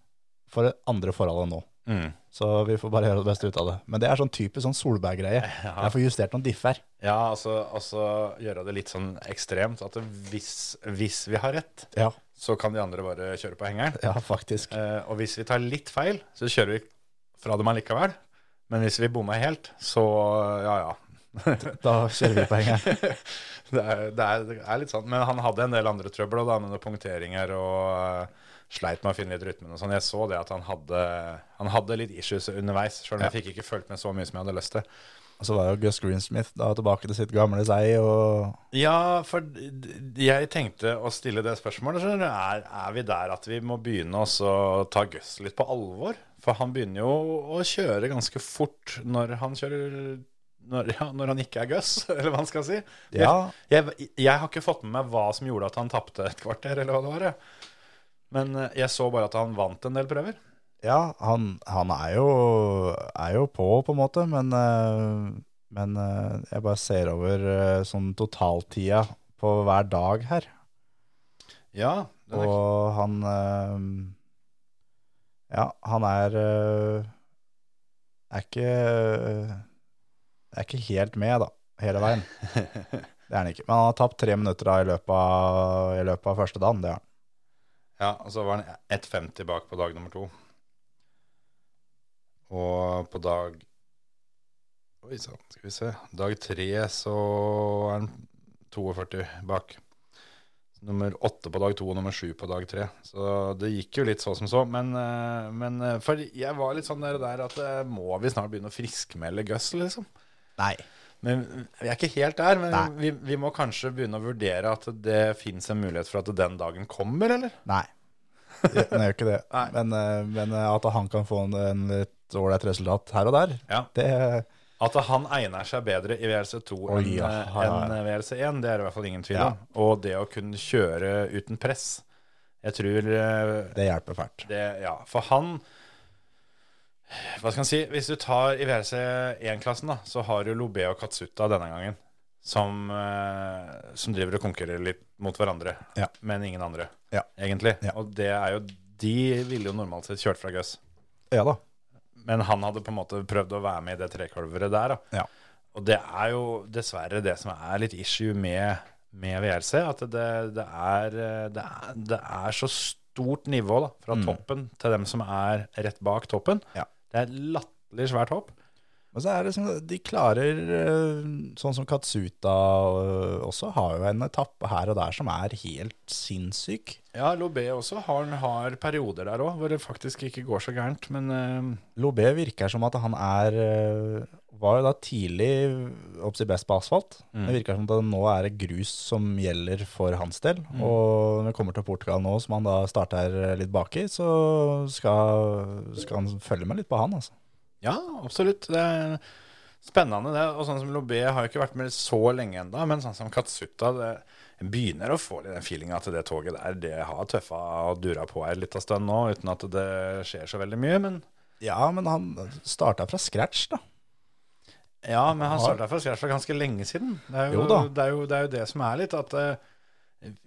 Speaker 4: for det andre forholdet nå.
Speaker 3: Mm.
Speaker 4: Så vi får bare gjøre det beste ut av det. Men det er sånn typisk sånn Solberg-greie. Jeg får justert noen differ.
Speaker 3: Ja, altså, altså gjøre det litt sånn ekstremt. At hvis, hvis vi har rett,
Speaker 4: Ja,
Speaker 3: så kan de andre bare kjøre på hengeren.
Speaker 4: ja faktisk.
Speaker 3: Eh, og hvis vi tar litt feil, så kjører vi fra dem allikevel. Men hvis vi bommer helt, så ja, ja.
Speaker 4: Da kjører vi på hengeren.
Speaker 3: det, er, det, er, det er litt sånn. Men han hadde en del andre trøbbel også da, med noen punkteringer og eh, sleit med å finne litt rytmen og sånn. Jeg så det at han hadde, han hadde litt issues underveis, sjøl om jeg fikk ikke fulgt med så mye som jeg hadde lyst til.
Speaker 4: Og så var jo Gus Greensmith da tilbake til sitt gamle seg, og
Speaker 3: Ja, for d- d- jeg tenkte å stille det spørsmålet. skjønner du. Er, er vi der at vi må begynne også å ta Gus litt på alvor? For han begynner jo å kjøre ganske fort når han kjører når, ja, når han ikke er Gus, eller hva han skal si.
Speaker 4: Ja.
Speaker 3: Jeg, jeg, jeg har ikke fått med meg hva som gjorde at han tapte et kvarter, eller hva det var. jeg. Men eh, jeg så bare at han vant en del prøver.
Speaker 4: Ja, han, han er, jo, er jo på, på en måte, men, eh, men eh, jeg bare ser over eh, sånn totaltida på hver dag her.
Speaker 3: Ja, den er,
Speaker 4: Og han eh, Ja, han er eh, Er ikke eh, Er ikke helt med, da, hele veien. Det er han ikke. Men han har tapt tre minutter da i løpet av, i løpet av første dagen. Det har han.
Speaker 3: Ja, og så var han 1,50 bak på dag nummer to. Og på dag Oi sann, skal vi se. Dag tre så er han 42 bak. Nummer åtte på dag to og nummer sju på dag tre. Så det gikk jo litt så som så. Men, eh, men eh, for jeg var litt sånn der, der at eh, må vi snart begynne å friskmelde Gus, liksom?
Speaker 4: Nei.
Speaker 3: Men vi er ikke helt der. Men
Speaker 4: Nei.
Speaker 3: vi, vi må kanskje begynne å vurdere at det fins en mulighet for at den dagen kommer, eller?
Speaker 4: Nei. Ja, Den gjør ikke det.
Speaker 3: Nei.
Speaker 4: Men, eh, men eh, at han kan få en, en litt ålreit resultat her og der,
Speaker 3: Ja.
Speaker 4: det
Speaker 3: At han egner seg bedre i VRC2
Speaker 4: Oi,
Speaker 3: enn eh,
Speaker 4: ja, ja, ja.
Speaker 3: enn VRC1, det er det i hvert fall ingen tvil
Speaker 4: Ja.
Speaker 3: om. Og det å kunne kjøre uten press. Jeg tror eh,
Speaker 4: det hjelper fælt.
Speaker 3: det Ja, for han Hva skal en si? Hvis du tar i VRC1-klassen, da, så har du Lobé og Katsuta denne gangen. Som, eh, som driver og konkurrerer litt mot hverandre,
Speaker 4: Ja.
Speaker 3: men ingen andre,
Speaker 4: Ja.
Speaker 3: egentlig.
Speaker 4: Ja.
Speaker 3: Og det er jo De ville jo normalt sett kjørt fra Gus.
Speaker 4: Ja da.
Speaker 3: Men han hadde på en måte prøvd å være med i det trekalveret der. Da.
Speaker 4: Ja.
Speaker 3: Og det er jo dessverre det som er litt issue med, med VRC, at det, det, er, eh, det, er, det er så stort nivå da, fra toppen til dem som er rett bak toppen.
Speaker 4: Mm. Ja.
Speaker 3: Det er et latterlig svært hopp.
Speaker 4: Men så er det sånn, de klarer eh, Sånn som Katsuta eh, også, har jo en etappe her og der som er helt sinnssyk.
Speaker 3: Ja, Lobé også har, har perioder der òg hvor det faktisk ikke går så gærent, men eh,
Speaker 4: Lobé virker som at han er eh, Var jo da tidlig oppsi best på asfalt. Det virker som at det nå er det grus som gjelder for hans del. Og når vi kommer til Portugal nå, som han da starter eh, litt baki, så skal, skal han følge med litt på han, altså.
Speaker 3: Ja, absolutt. Det er spennende, det. Og sånn som Lobé har jo ikke vært med så lenge ennå, men sånn som Katsuta det jeg begynner å få litt den feelinga at det toget der det har tøffa og dura på her litt av stund nå, uten at det skjer så veldig mye. Men
Speaker 4: Ja, men han starta fra scratch, da.
Speaker 3: Ja, men han starta fra scratch for ganske lenge siden. Det er jo,
Speaker 4: Jo da.
Speaker 3: Det, er jo, det er jo det som er litt at eh,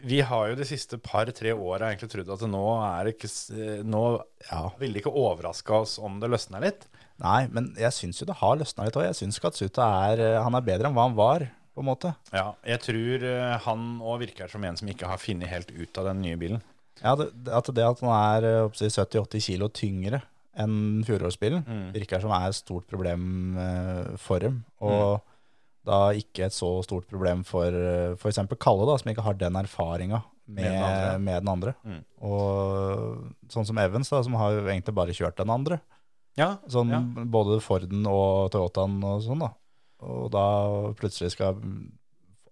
Speaker 3: vi har jo de siste par-tre åra egentlig trodd at nå er det ikke s- eh, Nå
Speaker 4: Ja.
Speaker 3: ville det ikke overraska oss om det løsner litt.
Speaker 4: Nei, men jeg syns jo det har løsna litt òg. Jeg syns Katsuta er eh, Han er bedre enn hva han var, på en måte.
Speaker 3: Ja, jeg tror eh, han òg virker som en som ikke har funnet helt ut av den nye bilen.
Speaker 4: Ja, det, det- at det at han er eh, oppsi 70-80 kilo tyngre enn fjorårsbilen,
Speaker 3: Mm.
Speaker 4: virker som er et stort problem eh, for dem.
Speaker 3: Mm.
Speaker 4: Og da ikke et så stort problem for f.eks. Kalle, da, som ikke har den erfaringa
Speaker 3: Med
Speaker 4: med,
Speaker 3: den andre. Mm.
Speaker 4: med den andre. Og sånn som Evans, da, som har jo egentlig bare kjørt den andre.
Speaker 3: Ja,
Speaker 4: Sånn,
Speaker 3: ja.
Speaker 4: Både Forden og Toyotaen og sånn, da. Og da plutselig skal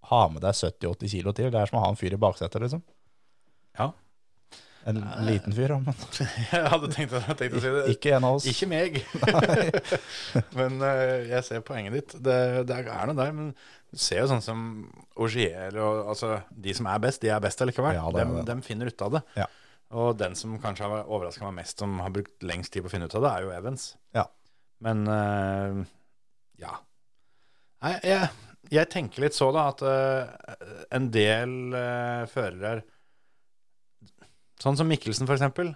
Speaker 4: ha med deg 70-80 kilo til. Det er som å ha en fyr i baksetet, liksom.
Speaker 3: Ja.
Speaker 4: En liten fyr, da, men
Speaker 3: Jeg hadde tenkt, jeg hadde tenkt å si det.
Speaker 4: ikke en av oss.
Speaker 3: Ikke meg. men eh, jeg ser poenget ditt. Det, det er noe der. Men du ser jo sånn som Augier og altså, De som er best, de er best allikevel.
Speaker 4: Ja, det er
Speaker 3: dem,
Speaker 4: det.
Speaker 3: dem finner ut av det.
Speaker 4: Ja.
Speaker 3: Og den som kanskje har overraska meg mest, som har brukt lengst tid på å finne ut av det, er jo Evans.
Speaker 4: Ja.
Speaker 3: Men eh, ja. Nei, jeg, jeg tenker litt så, da, at eh, en del eh, førere Sånn som Mikkelsen, for eksempel,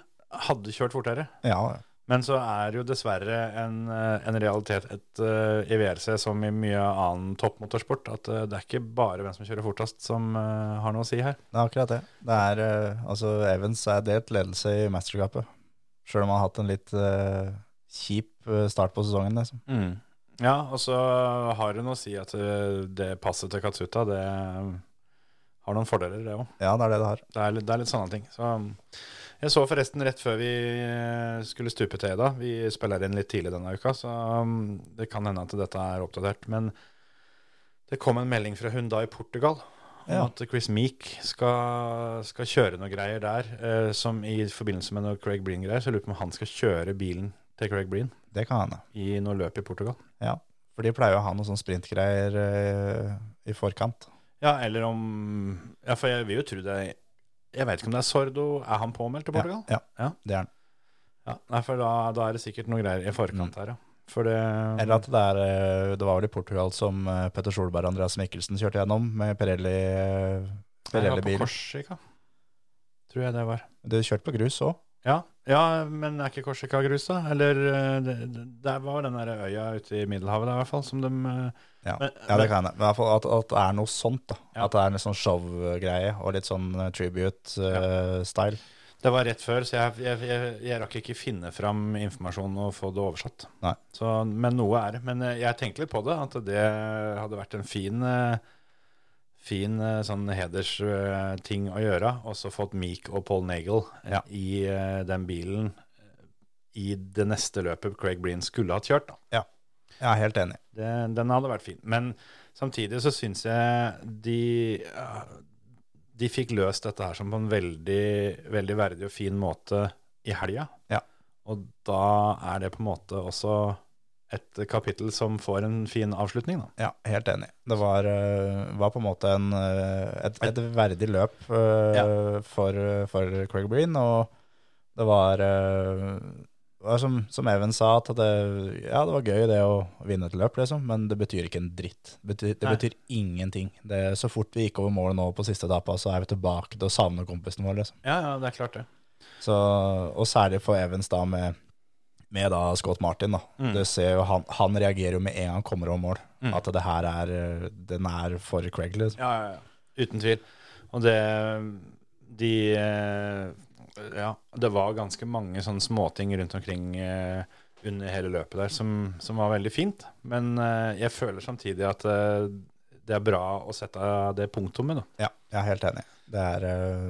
Speaker 3: hadde kjørt fortere.
Speaker 4: Ja,
Speaker 3: Men så er jo dessverre en, eh, en realitet et, eh, i VRC som i mye annen toppmotorsport, at eh, det er ikke bare hvem som kjører fortest som eh, har noe å si her.
Speaker 4: det er akkurat det. Det er, eh, altså, Evans er delt ledelse i mesterskapet. Sjøl om han har hatt en litt eh, kjip eh, start på sesongen, liksom.
Speaker 3: Ja, og så har hun å si at eh, det passet til Katsuta, det eh, har noen fordeler, det òg.
Speaker 4: Ja, det er det det har.
Speaker 3: Det, er litt- det er litt sånne ting. Så, um, jeg så forresten rett før vi eh, skulle stupe til i dag, vi spiller inn litt tidlig denne uka, så um, det kan hende at dette er oppdatert, men det kom en melding fra Hyundai i Portugal om
Speaker 4: Ja.
Speaker 3: at Chris Meek skal, skal kjøre noe greier der, eh, som i forbindelse med noe Craig Breen-greier, så jeg lurer på om han skal kjøre bilen til Craig Breen
Speaker 4: Det kan hende.
Speaker 3: i noe løp i Portugal.
Speaker 4: Ja. For de pleier jo å ha noen sånne sprintgreier eh, i forkant.
Speaker 3: Ja, eller om, ja, for jeg vil jo tro det, jeg vet ikke om det er Sordo, er han påmeldt til Portugal?
Speaker 4: Ja, ja,
Speaker 3: Ja.
Speaker 4: det er han.
Speaker 3: Ja, nei, for da, da er det sikkert noen greier i forkant her, ja. For det,
Speaker 4: Eller at det er eh, Det var vel i Portugal som eh, Petter Solberg og Andreas Mikkelsen kjørte gjennom med Pirelli eh,
Speaker 3: Eller på
Speaker 4: Pirelli-bil.
Speaker 3: Korsika, tror jeg det var.
Speaker 4: Du kjørte på grus òg?
Speaker 3: Ja, ja men er ikke Korsika grus da? Eller eh, det, det- der var den der øya ute i Middelhavet der i hvert fall, som de... eh,
Speaker 4: Ja.
Speaker 3: Men-
Speaker 4: ja, det kan hende. Men i hvert fall At, at det er noe sånt. da
Speaker 3: Ja.
Speaker 4: At det er en litt sånn showgreie og litt sånn eh, tribute-style.
Speaker 3: Det var rett før, så jeg, jeg, jeg, jeg rakk ikke finne fram informasjonen og få det oversatt.
Speaker 4: Nei.
Speaker 3: Så, men noe er det. Men eh, jeg tenkte litt på det, at det hadde vært en fin, eh, fin eh, sånn hedersting å gjøre. Og så fått Meek og Paul Nagel
Speaker 4: Ja.
Speaker 3: i eh, den bilen eh, i det neste løpet Craig Breen skulle ha kjørt. Da.
Speaker 4: Jeg er helt enig.
Speaker 3: Det, den hadde vært fin. Men samtidig så syns jeg de ja, De fikk løst dette her som på en veldig, veldig verdig og fin måte i helga.
Speaker 4: Ja.
Speaker 3: Og da er det på en måte også et kapittel som får en fin avslutning, da.
Speaker 4: Ja, helt enig. Det var, eh, var på en måte en, eh, et, et verdig løp eh, for, for Craig Breen, og det var, eh, var som, som Even sa, at det, ja, det var gøy det å vinne et løp, liksom, men det betyr ikke en dritt. Det betyr, det
Speaker 3: Nei.
Speaker 4: betyr ingenting. Det, så fort vi gikk over målet nå på siste etappa, så er vi tilbake til å savne kompisen vår, liksom.
Speaker 3: Ja, ja, det er klart, det.
Speaker 4: Så, og særlig for Evans da med, med da Scott Martin. da.
Speaker 3: Mm.
Speaker 4: Du ser jo han, han reagerer jo med en gang han kommer over mål. At det her er eh, den er for Craig. liksom.
Speaker 3: Ja, ja, ja. Uten tvil. Og det De eh, Ja, det var ganske mange sånne småting rundt omkring eh, under hele løpet der som, som var veldig fint. Men eh, jeg føler samtidig at eh, det er bra å sette det punktummet, da.
Speaker 4: Ja, jeg er helt enig. Det er eh,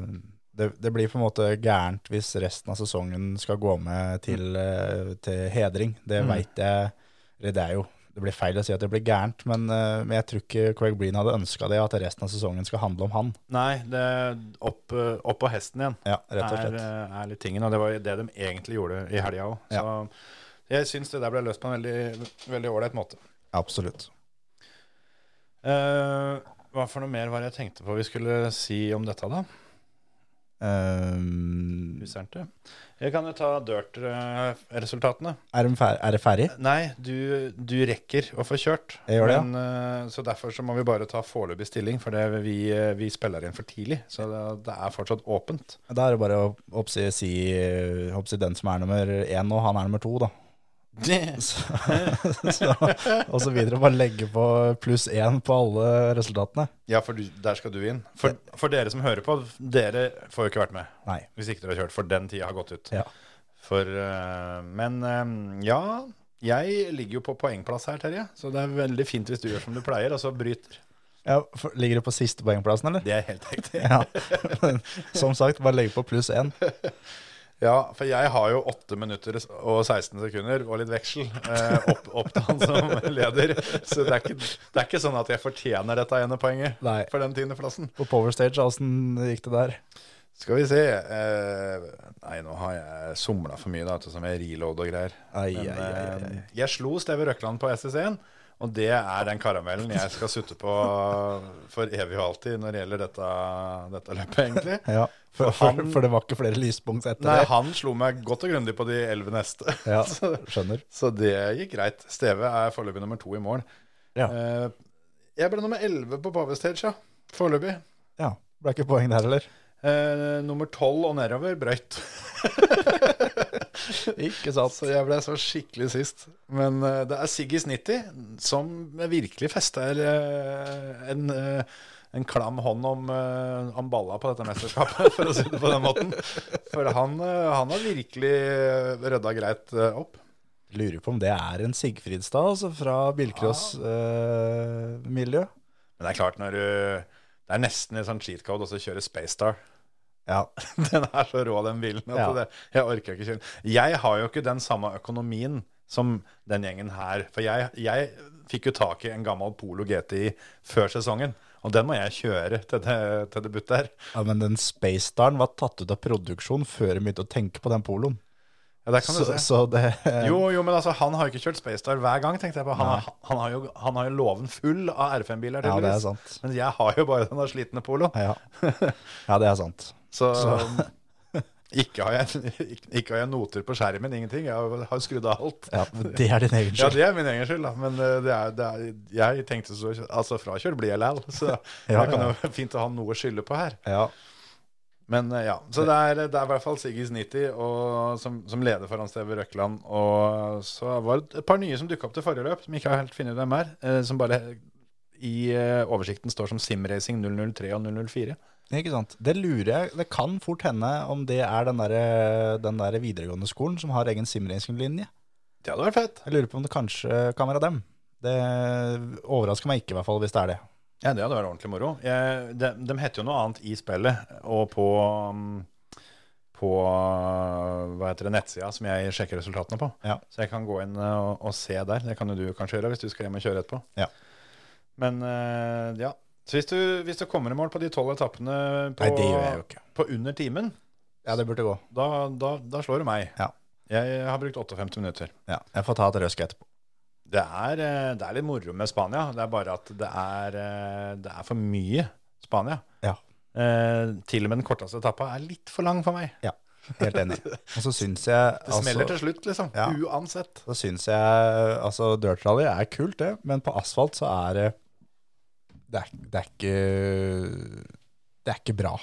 Speaker 4: det, det blir på en måte gærent hvis resten av sesongen skal gå med til,
Speaker 3: Mm.
Speaker 4: eh, til hedring. Det veit jeg. Eller det er jo det blir feil å si at det blir gærent, men, eh, men jeg tror ikke Craig Breen hadde ønska det, at resten av sesongen skal handle om han.
Speaker 3: Nei, det opp, eh, opp på hesten igjen
Speaker 4: Ja, rett og
Speaker 3: Er,
Speaker 4: slett.
Speaker 3: eh, er litt tingen. Og det var jo det de egentlig gjorde i helga òg. Så jeg syns det der ble løst på en veldig veldig ålreit måte.
Speaker 4: Absolutt.
Speaker 3: Eh, hva for noe mer var det jeg tenkte på vi skulle si om dette, da?
Speaker 4: Ehm,
Speaker 3: Usernte. Jeg kan jo ta dirt-resultatene.
Speaker 4: er, de fer er det ferdig?
Speaker 3: Nei, du, du rekker å få kjørt.
Speaker 4: Jeg gjør det, ja.
Speaker 3: men, eh, Så derfor så må vi bare ta foreløpig stilling, for det vi, eh, vi spiller inn for tidlig. Så det, det er fortsatt åpent.
Speaker 4: Da er det bare å oppsi, si, eh, oppsi den som er nummer én nå, han er nummer to, da. Så, så, og så videre. Bare legge på pluss én på alle resultatene.
Speaker 3: Ja, for du, der skal du inn. For, for dere som hører på, dere får jo ikke vært med
Speaker 4: Nei.
Speaker 3: hvis ikke dere har kjørt, for den tida har gått ut.
Speaker 4: Ja.
Speaker 3: For, eh, men eh, ja, jeg ligger jo på poengplass her, Terje. Så det er veldig fint hvis du gjør som du pleier, og så bryter.
Speaker 4: Ja, for, ligger du på siste poengplassen, eller?
Speaker 3: Det er helt riktig.
Speaker 4: Ja. Men, som sagt, bare legge på pluss én.
Speaker 3: Ja, for jeg har jo 8 minutter og 16 sekunder og litt veksel eh, opp, opp til han som leder. Så det er, ikke, det er ikke sånn at jeg fortjener dette ene poenget
Speaker 4: Nei.
Speaker 3: for den tiendeplassen.
Speaker 4: På power stage, åssen gikk det der?
Speaker 3: Skal vi se eh, Nei, nå har jeg somla for mye, da, vet du, som jeg reload og greier.
Speaker 4: Ai,
Speaker 3: Men,
Speaker 4: ai, ai, ai.
Speaker 3: eh, Jeg slo Steve Røkland på SS1, og det er den karamellen jeg skal sutte på for evig og alltid når det gjelder dette, dette løpet, egentlig.
Speaker 4: Ja, for,
Speaker 3: For
Speaker 4: for,
Speaker 3: han-
Speaker 4: for det var ikke flere lyspunkt etter
Speaker 3: Nei,
Speaker 4: det.
Speaker 3: han slo meg godt og grundig på de elleve neste.
Speaker 4: Ja,
Speaker 3: Så-
Speaker 4: skjønner.
Speaker 3: Så det gikk greit. Steve er foreløpig nummer to i mål.
Speaker 4: Ja.
Speaker 3: Eh, jeg ble nummer elleve på Pave Stage, ja. Foreløpig.
Speaker 4: Ja, Ble ikke poeng der heller.
Speaker 3: Eh, nummer tolv og nedover brøyt.
Speaker 4: Ikke sant.
Speaker 3: Så jeg ble så skikkelig sist. Men eh, det er Siggis 90 som virkelig fester eh, en, eh, en klam hånd om, eh, om balla på dette mesterskapet, for å si det på den måten. For han, eh, han har virkelig eh, rydda greit eh, opp.
Speaker 4: Lurer på om det er en Sigfridstad, altså, fra eh, bilcross-miljø.
Speaker 3: Men det er klart, når du Det er nesten en sånn cheat code å kjøre Space Star.
Speaker 4: ja.
Speaker 3: Den er så rå, den bilen. At
Speaker 4: Ja.
Speaker 3: det, jeg orker ikke kjøre den. Jeg har jo ikke den samme økonomien som den gjengen her. For jeg, jeg fikk jo tak i en gammel Polo GTI før sesongen. Og den må jeg kjøre til, det, til debut der.
Speaker 4: ja, men den Space Staren var tatt ut av produksjon før de begynte å tenke på den poloen.
Speaker 3: Ja, der kan du
Speaker 4: Så,
Speaker 3: se.
Speaker 4: så det
Speaker 3: Jo, jo, men altså, han har jo ikke kjørt Space Star hver gang, tenkte jeg på. Han, har, han, har, jo, han har jo låven full av R5-biler,
Speaker 4: Ja, det er
Speaker 3: tydeligvis.
Speaker 4: sant.
Speaker 3: men jeg har jo bare den slitne Polo.
Speaker 4: Ja. ja, det er sant.
Speaker 3: Så, ikke, har jeg, ikke, ikke har jeg noter på skjermen, ingenting. Jeg har skrudd av alt.
Speaker 4: Ja, men det er din
Speaker 3: Ja,
Speaker 4: egen skyld.
Speaker 3: det er min egen skyld, da. Men eh, det er, det er, jeg tenkte så Altså, frakjørt blir jeg læl, så
Speaker 4: Ja,
Speaker 3: det kan
Speaker 4: ja.
Speaker 3: jo være fint å ha noe å skylde på her.
Speaker 4: Ja.
Speaker 3: Men eh, ja. Så det er, det er i hvert fall Siggis 90 og, som, som leder foran Steve Røkland. Og så var det et par nye som dukka opp til forrige løp, som ikke har helt funnet ut hvem er. eh, Som bare i eh, oversikten står som Simracing 003 og 004.
Speaker 4: Ikke sant? Det lurer jeg Det kan fort hende om det er den derre den der videregående skolen som har egen simracinglinje.
Speaker 3: Det hadde vært fett.
Speaker 4: Jeg lurer på om det kanskje kan være dem. Det overrasker meg ikke, i hvert fall, hvis det er det.
Speaker 3: Ja, det hadde vært ordentlig moro. Jeg, de, de heter jo noe annet i spillet, og på, um, på uh, hva heter det, nettsida som jeg sjekker resultatene på.
Speaker 4: Ja.
Speaker 3: Så jeg kan gå inn uh, og, og se der. Det kan jo du kanskje gjøre hvis du skal hjem og kjøre etterpå.
Speaker 4: Ja.
Speaker 3: Men uh, ja. Så hvis du, hvis du kommer i mål på de tolv etappene på,
Speaker 4: Nei, det gjør jeg jo ikke.
Speaker 3: på under timen,
Speaker 4: Ja, det burde gå.
Speaker 3: da, da, da slår du meg.
Speaker 4: Ja.
Speaker 3: Jeg har brukt 58 minutter.
Speaker 4: Ja, jeg får ta et røsk etterpå.
Speaker 3: Det er, eh, det er litt moro med Spania. Det er bare at det er, eh, det er for mye Spania.
Speaker 4: Ja.
Speaker 3: Eh, til og med den korteste etappa er litt for lang for meg.
Speaker 4: Ja, helt enig. Og så syns jeg
Speaker 3: Det smeller til slutt, liksom.
Speaker 4: Altså, Ja.
Speaker 3: Uansett.
Speaker 4: Så syns jeg Altså, dirt rally er kult, det, men på asfalt så er det Det er, det er ikke Det er ikke bra.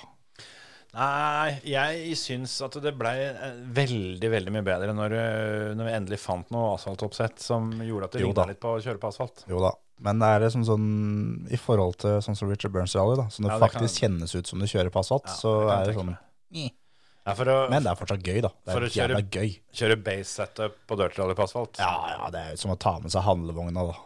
Speaker 3: Nei, jeg syns at det ble eh, veldig, veldig mye bedre når, eh, når vi endelig fant noe asfaltoppsett som gjorde at det
Speaker 4: Jo da.
Speaker 3: ligna litt på å kjøre på asfalt.
Speaker 4: Jo da. Men det er det som sånn I forhold til sånn som Richard Burns rally, da, som det
Speaker 3: Ja, det
Speaker 4: faktisk kjennes ut som du kjører på asfalt,
Speaker 3: det kan
Speaker 4: så
Speaker 3: jeg
Speaker 4: er det
Speaker 3: tenke
Speaker 4: sånn
Speaker 3: meg. Ja, for å
Speaker 4: Men det er fortsatt gøy, da. Det
Speaker 3: For
Speaker 4: er
Speaker 3: å kjøre-
Speaker 4: jævla gøy.
Speaker 3: kjøre base setup på dirt rally på asfalt,
Speaker 4: Ja, ja, det er jo som å ta med seg handlevogna, da.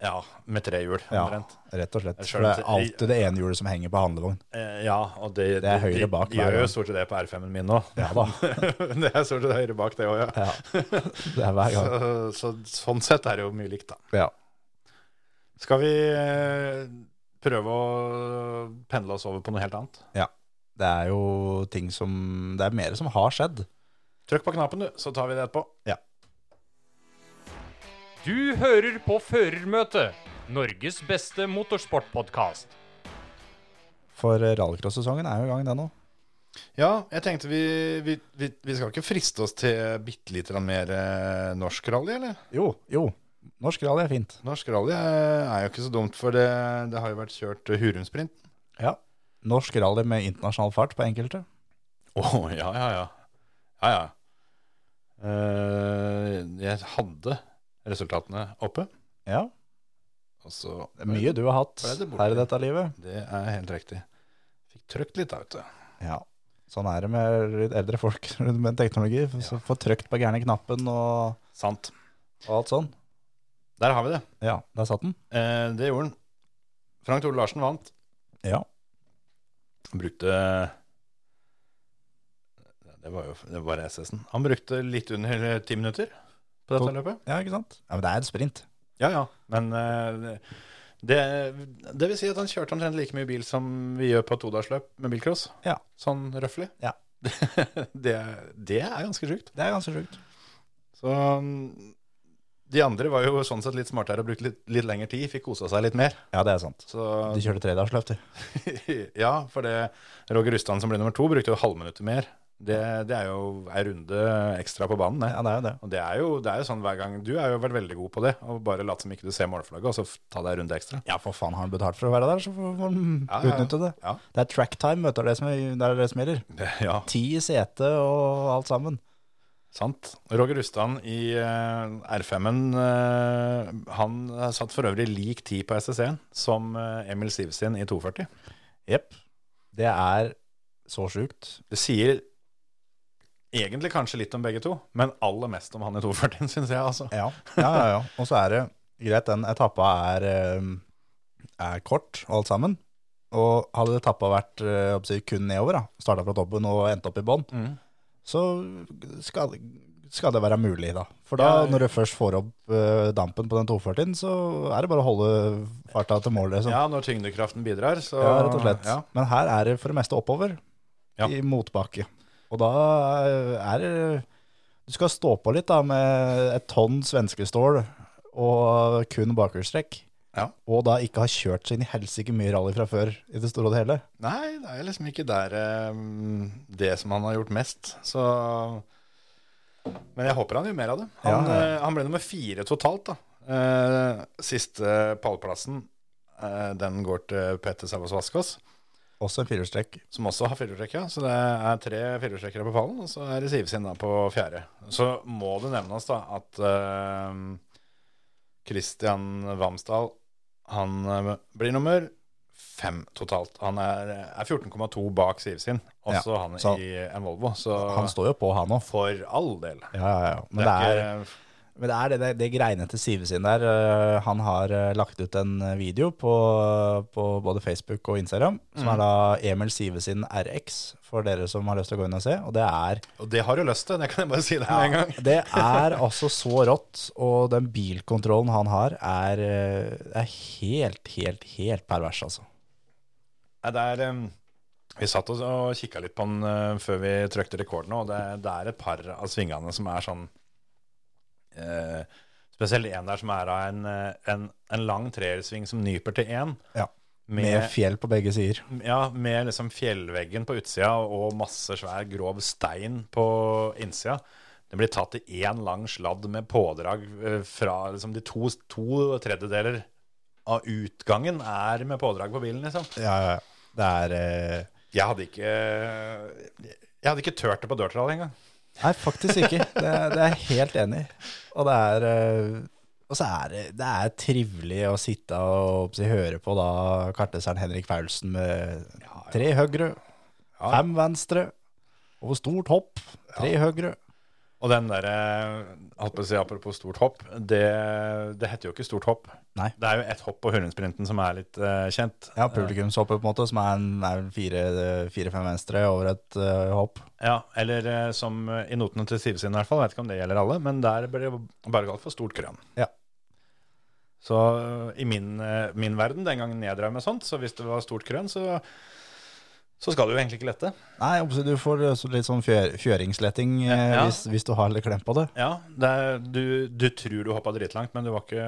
Speaker 3: Ja, med tre hjul.
Speaker 4: Ja,
Speaker 3: omtrent.
Speaker 4: rett og slett.
Speaker 3: Jeg
Speaker 4: For det er
Speaker 3: skjønner-
Speaker 4: alltid det ene hjulet som henger på handlevogn.
Speaker 3: Eh, ja, og det,
Speaker 4: Det er høyre
Speaker 3: de-
Speaker 4: bak
Speaker 3: De,
Speaker 4: hver
Speaker 3: gjør jo
Speaker 4: gang.
Speaker 3: stort sett det på R5-en min nå.
Speaker 4: Ja da.
Speaker 3: det er stort sett høyre bak, det òg, ja.
Speaker 4: Ja. Det er hver gang.
Speaker 3: Så, så, sånn sett er det jo mye likt, da.
Speaker 4: Ja.
Speaker 3: Skal vi eh, prøve å pendle oss over på noe helt annet?
Speaker 4: ja. Det er jo ting som Det er mer som har skjedd.
Speaker 3: Trykk på knappen, du, så tar vi det etterpå.
Speaker 4: Ja.
Speaker 5: Du hører på Førermøtet, Norges beste motorsportpodkast.
Speaker 4: For eh, rallycross-sesongen er jo i gang, den nå.
Speaker 3: Ja, jeg tenkte vi, vi, vi, vi skal ikke friste oss til bitte lite grann mer eh, norsk rally, eller?
Speaker 4: Jo, jo. Norsk rally er fint.
Speaker 3: Norsk rally eh, er jo ikke så dumt, for det, det har jo vært kjørt eh, Hurumsprint.
Speaker 4: Ja. Norsk rally med internasjonal fart på enkelte.
Speaker 3: Å, ja, ja, ja. Ja, ja. Eh, jeg hadde resultatene oppe,
Speaker 4: Ja,
Speaker 3: og så
Speaker 4: det er mye du har hatt
Speaker 3: Ble det borte?
Speaker 4: her i dette livet.
Speaker 3: Det er helt riktig. Fikk trøkt litt, da, vet du.
Speaker 4: Ja. Sånn er det med litt eldre folk med teknologi. Så Få trykt på gærne knappen og,
Speaker 3: Sant.
Speaker 4: og alt sånn.
Speaker 3: Der har vi det.
Speaker 4: Ja, der satt den.
Speaker 3: Eh, det gjorde han. Frank Tore Larsen vant.
Speaker 4: Ja.
Speaker 3: brukte Det var jo det var SS-en. Han brukte litt under ti minutter på dette
Speaker 4: To-
Speaker 3: løpet.
Speaker 4: ja, ikke sant? Ja, Men det er et sprint.
Speaker 3: Ja, ja. Men eh, det, det vil si at han kjørte omtrent like mye bil som vi gjør på todagersløp med bilcross.
Speaker 4: Ja.
Speaker 3: Sånn røffelig.
Speaker 4: Ja.
Speaker 3: det, det er ganske sjukt.
Speaker 4: Det er ganske sjukt.
Speaker 3: Så mm, de andre var jo sånn sett litt smartere og brukte litt, litt lengre tid, fikk kosa seg litt mer.
Speaker 4: Ja, det er sant.
Speaker 3: Så
Speaker 4: De kjørte tredagsløp, de.
Speaker 3: ja, for det Roger Rustan som ble nummer to, brukte jo halvminuttet mer. Det, det er jo ei runde ekstra på banen, det.
Speaker 4: Ja, det er jo det.
Speaker 3: Og det er, jo, det er jo sånn hver gang Du har jo vært veldig god på det, og bare lat som ikke du ser målflagget, og så f- ta deg en runde ekstra.
Speaker 4: Ja, for faen, har han betalt for å være der, så får han
Speaker 3: Ja, ja, ja.
Speaker 4: utnytte det.
Speaker 3: Ja.
Speaker 4: Det er track time, vet du, det er det som, det er det som gjelder.
Speaker 3: Det, ja,
Speaker 4: Ti i sete og alt sammen.
Speaker 3: sant. Roger Rustan i eh, R5-en, eh, han satt for øvrig lik tid på SSC-en som eh, Emil Sivsen i 240.
Speaker 4: Jepp. Det er så sjukt.
Speaker 3: Det sier egentlig kanskje litt om begge to, men aller mest om han i 240-en, syns jeg, altså.
Speaker 4: Ja, ja, ja. ja. Og så er det greit, den etappa er, eh, er kort, alt sammen. Og hadde etappa vært eh, oppsi, kun nedover, da, starta fra toppen og endt opp i bånn,
Speaker 3: Mm.
Speaker 4: så skal, skal det være mulig, da. For da,
Speaker 3: Ja, ja.
Speaker 4: når du først får opp eh, dampen på den 240-en, så er det bare å holde farta til målet. Liksom.
Speaker 3: Ja, når tyngdekraften bidrar, så
Speaker 4: Ja, rett og slett.
Speaker 3: Ja.
Speaker 4: Men her er det for det meste oppover
Speaker 3: Ja.
Speaker 4: i motbakke. Og da eh, er det Du skal stå på litt da med et tonn svenskestål og kun bakhjulstrekk.
Speaker 3: Ja.
Speaker 4: Og da ikke ha kjørt seg inn i helsike mye rally fra før i det store og det hele.
Speaker 3: Nei, det er liksom ikke der eh, det som han har gjort mest. Så Men jeg håper han gjør mer av det. Han,
Speaker 4: Ja, ja.
Speaker 3: eh, han ble nummer fire totalt, da. Eh, siste pallplassen, eh, den går til Petter Savas Vaskås,
Speaker 4: Også en firehjulstrekk.
Speaker 3: som også har firehjulstrekk. ja. Så det er tre firehjulstrekkere på pallen, og så er det Sivsin da på fjerde. Så må det nevnes da at eh, Christian Vamsdal han eh, blir nummer fem totalt. Han er, er 14,2 bak Sivsin, og
Speaker 4: Ja,
Speaker 3: så han
Speaker 4: så-
Speaker 3: i en Volvo. Så
Speaker 4: Han står jo på, han òg.
Speaker 3: for all del.
Speaker 4: Ja, ja, ja. Men
Speaker 3: Det
Speaker 4: det
Speaker 3: er
Speaker 4: er, men det, er det, det, det greiene til Sivesen der. eh, Han har eh, lagt ut en video på, på både Facebook og Instagram, som er da Emil Sivesen RX, for dere som har lyst til å gå inn og se. Og det er
Speaker 3: ikke, og det har du lyst til, det kan jeg bare si deg med en
Speaker 4: Ja,
Speaker 3: gang.
Speaker 4: det er altså så rått, og den bilkontrollen han har, er, eh, er helt, helt, helt pervers, altså.
Speaker 3: Nei, det er, em, vi satt oss og kikka litt på den eh, før vi trykte rekorden, og det, det er et par av svingene som er sånn eh, Spesielt en der som er av en, eh, en, en lang treersving som nyper til én.
Speaker 4: Ja,
Speaker 3: Med,
Speaker 4: Med, fjell på begge sider.
Speaker 3: ja, med liksom fjellveggen på utsida og masse svær, grov stein på innsida. Den blir tatt i én lang sladd med pådrag eh, fra liksom de to, to tredjedeler av utgangen er med pådrag på bilen, liksom.
Speaker 4: Ja, ja, ja. Det er eh,
Speaker 3: Jeg hadde ikke Jeg hadde ikke tørt det på dørtrall engang.
Speaker 4: Nei, faktisk ikke. Det, er- det er jeg helt enig i. Og det er eh, og så er det, det er trivelig å sitte og si, høre på da karteseren Henrik Paulsen med tre høyre, fem venstre, og stort hopp, tre høyre.
Speaker 3: Og den derre holdt på å si, Apropos stort hopp, det, det heter jo ikke stort hopp.
Speaker 4: Nei.
Speaker 3: Det er jo et hopp på Hurundsprinten som er litt eh, kjent.
Speaker 4: Ja, publikumshoppet på en måte, som er en- er en fire-fem venstre over et eh, hopp.
Speaker 3: Ja, Eller eh, som i notene til Sivesen, i hvert fall. Jeg vet ikke om det gjelder alle, men der ble det bare galt for stort krønn.
Speaker 4: Ja.
Speaker 3: Så eh, i min, eh, min verden, den gangen jeg drev med sånt, så hvis det var stort krønn, så, så skal du jo egentlig ikke lette.
Speaker 4: Nei, oppsett, du får så litt sånn fjør, fjøringsletting eh,
Speaker 3: Ja.
Speaker 4: hvis, hvis du har litt klem på det.
Speaker 3: Ja, det er, du, du tror du hoppa dritlangt, men du var ikke,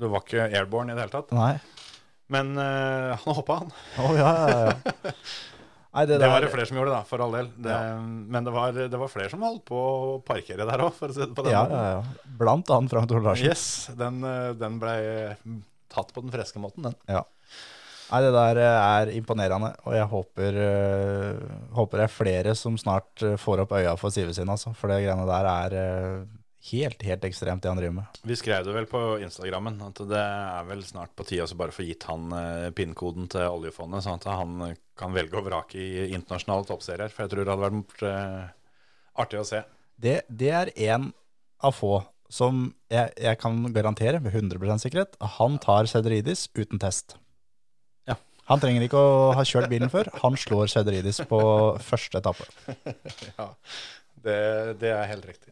Speaker 3: du var ikke airborne i det hele tatt.
Speaker 4: Nei.
Speaker 3: Men eh, han hoppa, han.
Speaker 4: Å ja, ja, ja. Nei, det,
Speaker 3: Det var
Speaker 4: der-
Speaker 3: det flere som gjorde, da, for all del. Det, Men det var, det var flere som holdt på å parkere der òg, for å si det på den
Speaker 4: Ja,
Speaker 3: måten.
Speaker 4: ja, ja. Blant annet Frank Tore Larsen.
Speaker 3: Yes, den, eh, den ble tatt på den freske måten, den.
Speaker 4: Ja. Nei, det der eh, er imponerende, og jeg håper, eh, håper det er flere som snart eh, får opp øya for Sive sin, altså. For det greiene der er eh, helt, helt ekstremt, det han driver med.
Speaker 3: Vi skrev det vel på Instagrammen at det er vel snart på tide å bare få gitt han eh, pinnkoden til oljefondet, sånn at han kan velge og vrake i internasjonale toppserier. For jeg tror det hadde vært eh, artig å se.
Speaker 4: Det, det er en av få som jeg, jeg kan garantere med 100 sikkerhet, han tar Cederidis uten test.
Speaker 3: Ja.
Speaker 4: Han trenger ikke å ha kjørt bilen før. Han slår Cederidis på første etappe.
Speaker 3: Ja, det, det er helt riktig.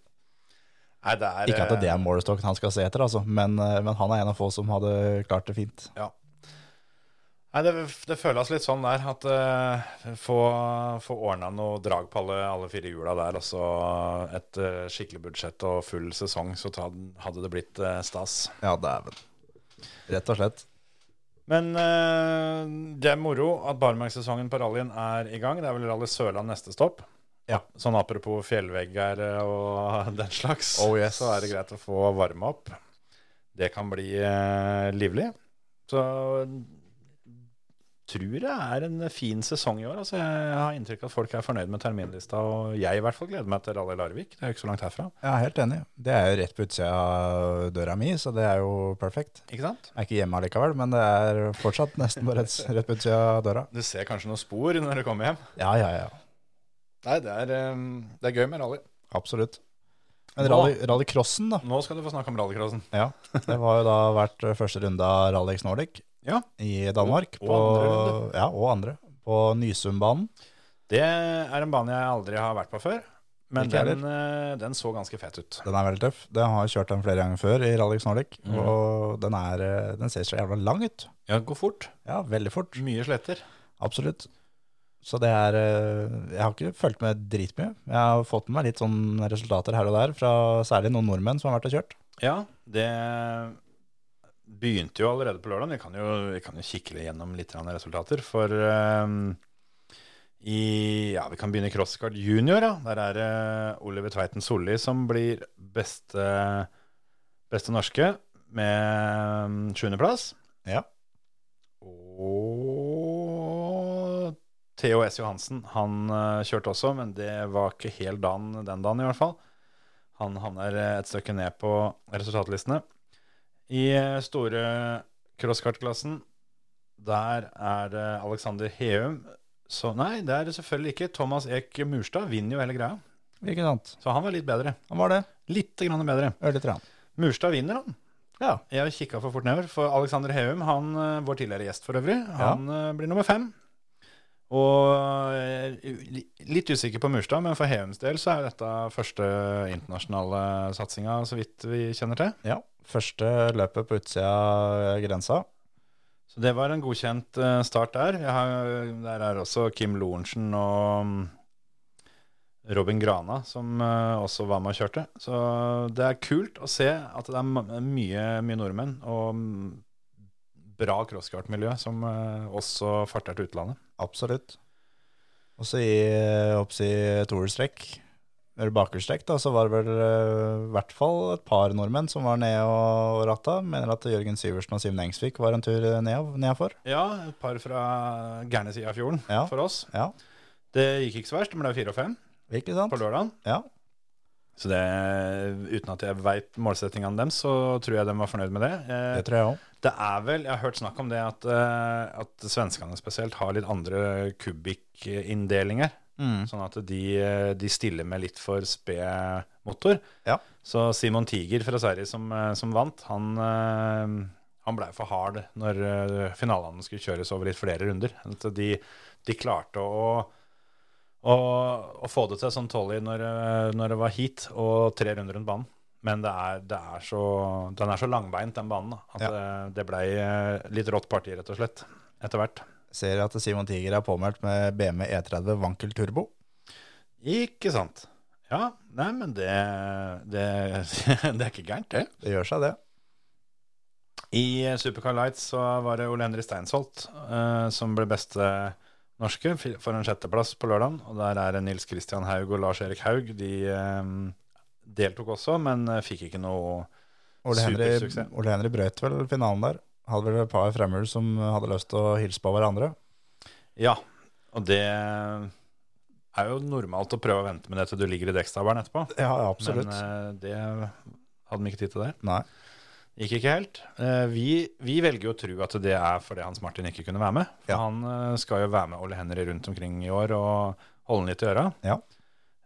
Speaker 3: Nei, det er
Speaker 4: Ikke at det
Speaker 3: eh,
Speaker 4: er målestokken han skal se etter, altså, men, eh, men han er en av få som hadde klart det fint.
Speaker 3: Ja. Nei, det, det føles litt sånn der at eh, få, få ordna noe drag på alle, alle fire hjula der, og så et eh, skikkelig budsjett og full sesong, så ta, hadde det blitt eh, stas.
Speaker 4: Ja, dæven. Rett og slett.
Speaker 3: Men eh, det er moro at barmarkssesongen på rallyen er i gang. Det er vel Rally Sørland neste stopp.
Speaker 4: Ja.
Speaker 3: Sånn apropos fjellvegger eh, og den slags,
Speaker 4: Oh, yes.
Speaker 3: så er det greit å få varme opp. Det kan bli eh, livlig. Så tror jeg er en fin sesong i år. Altså, jeg har inntrykk av at folk er fornøyd med terminlista, og jeg i hvert fall gleder meg til Rally Larvik. Det er jo ikke så langt herfra.
Speaker 4: Jeg er helt enig. Det er jo rett på utsida av døra mi, så det er jo perfekt.
Speaker 3: Ikke sant?
Speaker 4: Jeg er ikke hjemme allikevel, men det er fortsatt nesten bare rett, rett på utsida av døra.
Speaker 3: Du ser kanskje noen spor når du kommer hjem.
Speaker 4: Ja, ja, ja.
Speaker 3: Nei, det er, eh, det er gøy med rally.
Speaker 4: Absolutt. Men
Speaker 3: Nå-
Speaker 4: rally, rallycrossen, da.
Speaker 3: Nå skal du få snakke om rallycrossen.
Speaker 4: Ja, Det var jo da vært første runde av Rallyx Nordic
Speaker 3: Ja.
Speaker 4: i Danmark.
Speaker 3: Og- og andre runde.
Speaker 4: Ja, og andre. På Nysundbanen.
Speaker 3: Det er en bane jeg aldri har vært på før, men
Speaker 4: Ikke
Speaker 3: den, eh, den så ganske fet ut.
Speaker 4: Den er veldig tøff. Den har jeg kjørt den flere ganger før i Rallyx Nordic, og den, er, eh, den ser så jævla lang ut.
Speaker 3: Ja, Gå fort.
Speaker 4: Ja, veldig fort.
Speaker 3: Mye sletter.
Speaker 4: Absolutt. Så det er eh, Jeg har ikke fulgt med dritmye. Jeg har fått med meg litt sånn resultater her og der, fra særlig noen nordmenn som har vært og kjørt.
Speaker 3: Ja, det begynte jo allerede på lørdag. Vi kan jo, vi kan jo kikke gjennom litt grann resultater, for eh, i, ja, Vi kan begynne i crosscard junior. Ja. Der er det Oliver Tveiten Solli som blir beste, beste norske med mm, sjuendeplass.
Speaker 4: Ja.
Speaker 3: Og Theo S. Johansen. Han eh, kjørte også, men det var ikke helt dagen den dagen, i hvert fall. Han havner eh, et stykke ned på resultatlistene. I eh, store crosskartklassen, der er det Alexander Heum så, Nei, det er det selvfølgelig ikke. Thomas Eek Murstad vinner jo hele greia,
Speaker 4: Ikke sant?
Speaker 3: så han var litt bedre.
Speaker 4: Han var det.
Speaker 3: Litt grann bedre.
Speaker 4: Ørlite grann.
Speaker 3: Murstad vinner, han.
Speaker 4: Ja.
Speaker 3: Jeg kikka for fort nedover, for Alexander Heum, han, eh, vår tidligere gjest for øvrig, han eh, blir nummer fem. Og eh, li- litt usikker på Murstad, men for Heums del så er dette første internasjonale satsinga, så vidt vi kjenner til.
Speaker 4: ja. Første løpet på utsida av grensa.
Speaker 3: Så det var en godkjent eh, start der. Jeg har, der er også Kim Lorentzen og mm, Robin Grana som eh, også var med og kjørte. Så det er kult å se at det er ma- mye, mye nordmenn og mm, bra crosskartmiljø som eh, også farter til utlandet.
Speaker 4: Absolutt. Og så i oppsi toerstrekk, eller bakhjulstrekk, da, så var det vel eh, i hvert fall et par nordmenn som var nede og, og ratta. Mener at Jørgen Syversen og Simen Engsvik var en tur eh, ned- nedafor.
Speaker 3: Ja, et par fra gærne sida av fjorden
Speaker 4: Ja.
Speaker 3: for oss.
Speaker 4: Ja.
Speaker 3: Det gikk ikke så verst, men det er fire og fem
Speaker 4: Virkelig sant?
Speaker 3: på lørdagen.
Speaker 4: Ja.
Speaker 3: Så det, uten at jeg veit målsettingene deres, så tror jeg de var fornøyd med det. Eh,
Speaker 4: Det tror jeg òg.
Speaker 3: Det er vel, Jeg har hørt snakk om det at, eh, at svenskene spesielt har litt andre kubikkinndelinger. Sånn at de, eh, de stiller med litt for sped motor.
Speaker 4: Ja.
Speaker 3: Så Simon Tiger fra Sverige som, eh, som vant, han, eh, han blei for hard når eh, finalene skulle kjøres over litt flere runder. At de, de klarte å, å, å få det til som Tolly når, eh, når det var heat og tre runder rundt banen. Men det er, det er så, den er så langbeint, den banen, da, at eh, det blei eh, litt rått parti, rett og slett, etter hvert.
Speaker 4: Ser at Simon Tiger er påmeldt med BMW E30 Wankel Turbo.
Speaker 3: Ikke sant? Ja, nei, men det, det, det er ikke gærent, det.
Speaker 4: Det gjør seg, det.
Speaker 3: I Supercar Lights så var det Ole Henry Steinsholt eh, som ble eh, beste norske fi- får en sjetteplass på lørdagen. Og der er det Nils Christian Haug og Lars Erik Haug. De eh, deltok også, men eh, fikk ikke noe
Speaker 4: Ole Henry,
Speaker 3: Supersuksess.
Speaker 4: Ole Henry brøt vel finalen der. Hadde vel et par fremmede som hadde lyst til å hilse på hverandre.
Speaker 3: Ja, og det eh, er jo normalt å prøve å vente med det til du ligger i dekkstabelen etterpå.
Speaker 4: Ja, ja, absolutt.
Speaker 3: Men eh, det hadde de ikke tid til der.
Speaker 4: Nei.
Speaker 3: Gikk ikke helt. Eh, vi, vi velger jo å tro at det er fordi Hans Martin ikke kunne være med. For
Speaker 4: Ja.
Speaker 3: Han eh, skal jo være med Ole Henry rundt omkring i år og holde han litt i øra.
Speaker 4: Ja.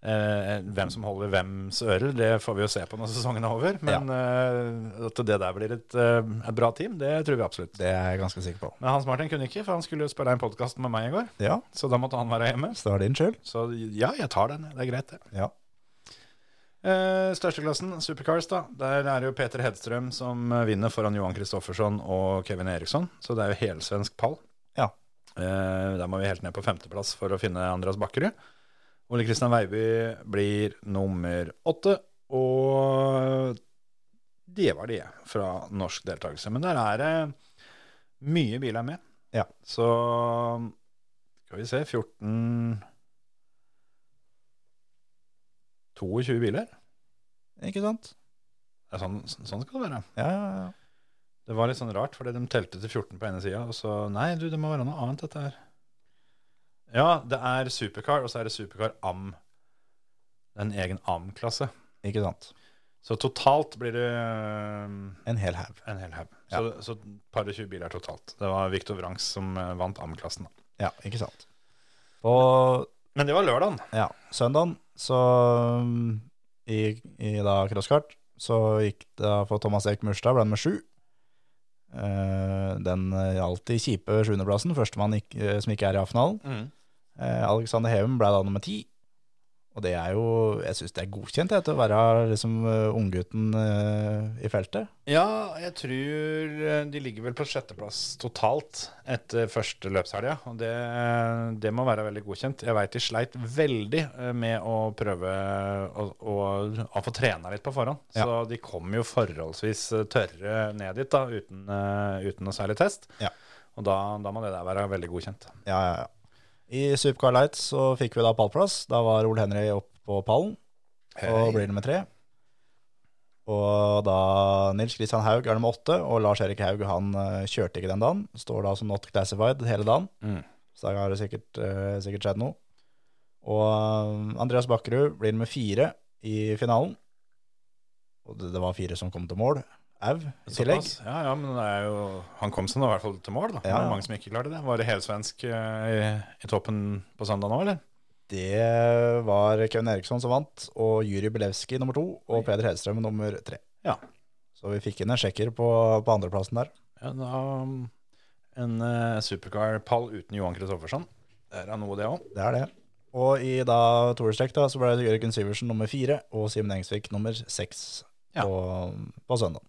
Speaker 3: Eh, hvem som holder hvems ører, det får vi jo se på når sesongen er over. Men eh, at det der blir et, eh, et bra team, det tror vi absolutt.
Speaker 4: Det er jeg ganske sikker på.
Speaker 3: Men Hans Martin kunne ikke, for han skulle jo spille en podkast med meg i går.
Speaker 4: Ja,
Speaker 3: Så da måtte han være hjemme.
Speaker 4: så det var din skyld.
Speaker 3: Så ja, jeg tar den. Det er greit, det.
Speaker 4: Ja.
Speaker 3: Eh, Størsteklassen, Supercars, da. Der er det jo Peter Hedstrøm som eh, vinner foran Johan Kristoffersson og Kevin Eriksson. Så det er jo helsvensk pall.
Speaker 4: Ja.
Speaker 3: Eh, der må vi helt ned på femteplass for å finne Andreas Bakkerud. Ole Kristian Veiby blir nummer åtte. Og det var det fra norsk deltakelse. Men der er det mye biler med.
Speaker 4: Ja.
Speaker 3: Så skal vi se 14 22 biler.
Speaker 4: Ikke sant?
Speaker 3: Det er sånn, sånn skal det være.
Speaker 4: Ja, ja, ja.
Speaker 3: Det var litt sånn rart, fordi de telte til 14 på ene sida, og så Nei, du, det må være noe annet, dette her. Ja, det er supercar, og så er det supercar AM. Det er en egen AM-klasse.
Speaker 4: Ikke sant.
Speaker 3: Så totalt blir det øhm,
Speaker 4: En hel haug.
Speaker 3: en hel haug. Så, så par og 20 biler totalt. Det var Viktor Wrangs som eh, vant AM-klassen. da.
Speaker 4: Ja, ikke sant. Og
Speaker 3: Men det var lørdagen.
Speaker 4: ja, søndagen, så um, i, i da crosskart, så gikk det da for Thomas Erik Murstad, ble han med sju. Eh, Den eh, alltid kjipe sjuendeplassen, førstemann ikk- eh, som ikke er i A-finalen. Eh, Alexander Hevum ble da nummer ti. Og det er jo Jeg syns det er godkjent jeg, til å være liksom eh, unggutten eh, i feltet.
Speaker 3: Ja, jeg tror eh, de ligger vel på sjetteplass totalt etter første løpshelga. Og det, det må være veldig godkjent. Jeg veit de sleit veldig eh, med å prøve å, å, å få trena litt på forhånd.
Speaker 4: Ja.
Speaker 3: Så de kom jo forholdsvis eh, tørre ned dit da, uten, eh, uten noe særlig test.
Speaker 4: Ja.
Speaker 3: Og da, da må det der være veldig godkjent.
Speaker 4: Ja, ja, ja. I Supercar Lights så fikk vi da pallplass. Da var Ole Henry opp på pallen og blir nummer tre. Og da Nils Kristian Haug er nummer åtte, og Lars Erik Haug han eh, kjørte ikke den dagen. Står da som not classified hele dagen.
Speaker 3: Mm.
Speaker 4: Så da har det sikkert, eh, sikkert skjedd noe. Og eh, Andreas Bakkerud blir nummer fire i finalen. Og det, det var fire som kom til mål. Au, i tillegg.
Speaker 3: Såpass. Ja, ja, men det er jo, han kom seg nå i hvert fall til mål. da.
Speaker 4: Ja,
Speaker 3: Det
Speaker 4: ja.
Speaker 3: var mange som ikke klarte det. Var det helsvensk eh, i, i toppen på søndag nå, eller?
Speaker 4: Det var Kevin Eriksson som vant, og Juri Belewski nummer to, og Peder Hedstrøm nummer tre.
Speaker 3: Ja.
Speaker 4: Så vi fikk inn en sjekker på, på andreplassen der.
Speaker 3: Ja, da, um, en eh, supercar-pall uten Johan Kristoffersson. Det er da noe, det òg.
Speaker 4: Det er det. Og i da toerstrekk da, så ble det Jørgen Syversen nummer fire, og Simen Engsvik nummer seks
Speaker 3: Ja.
Speaker 4: på, på søndag.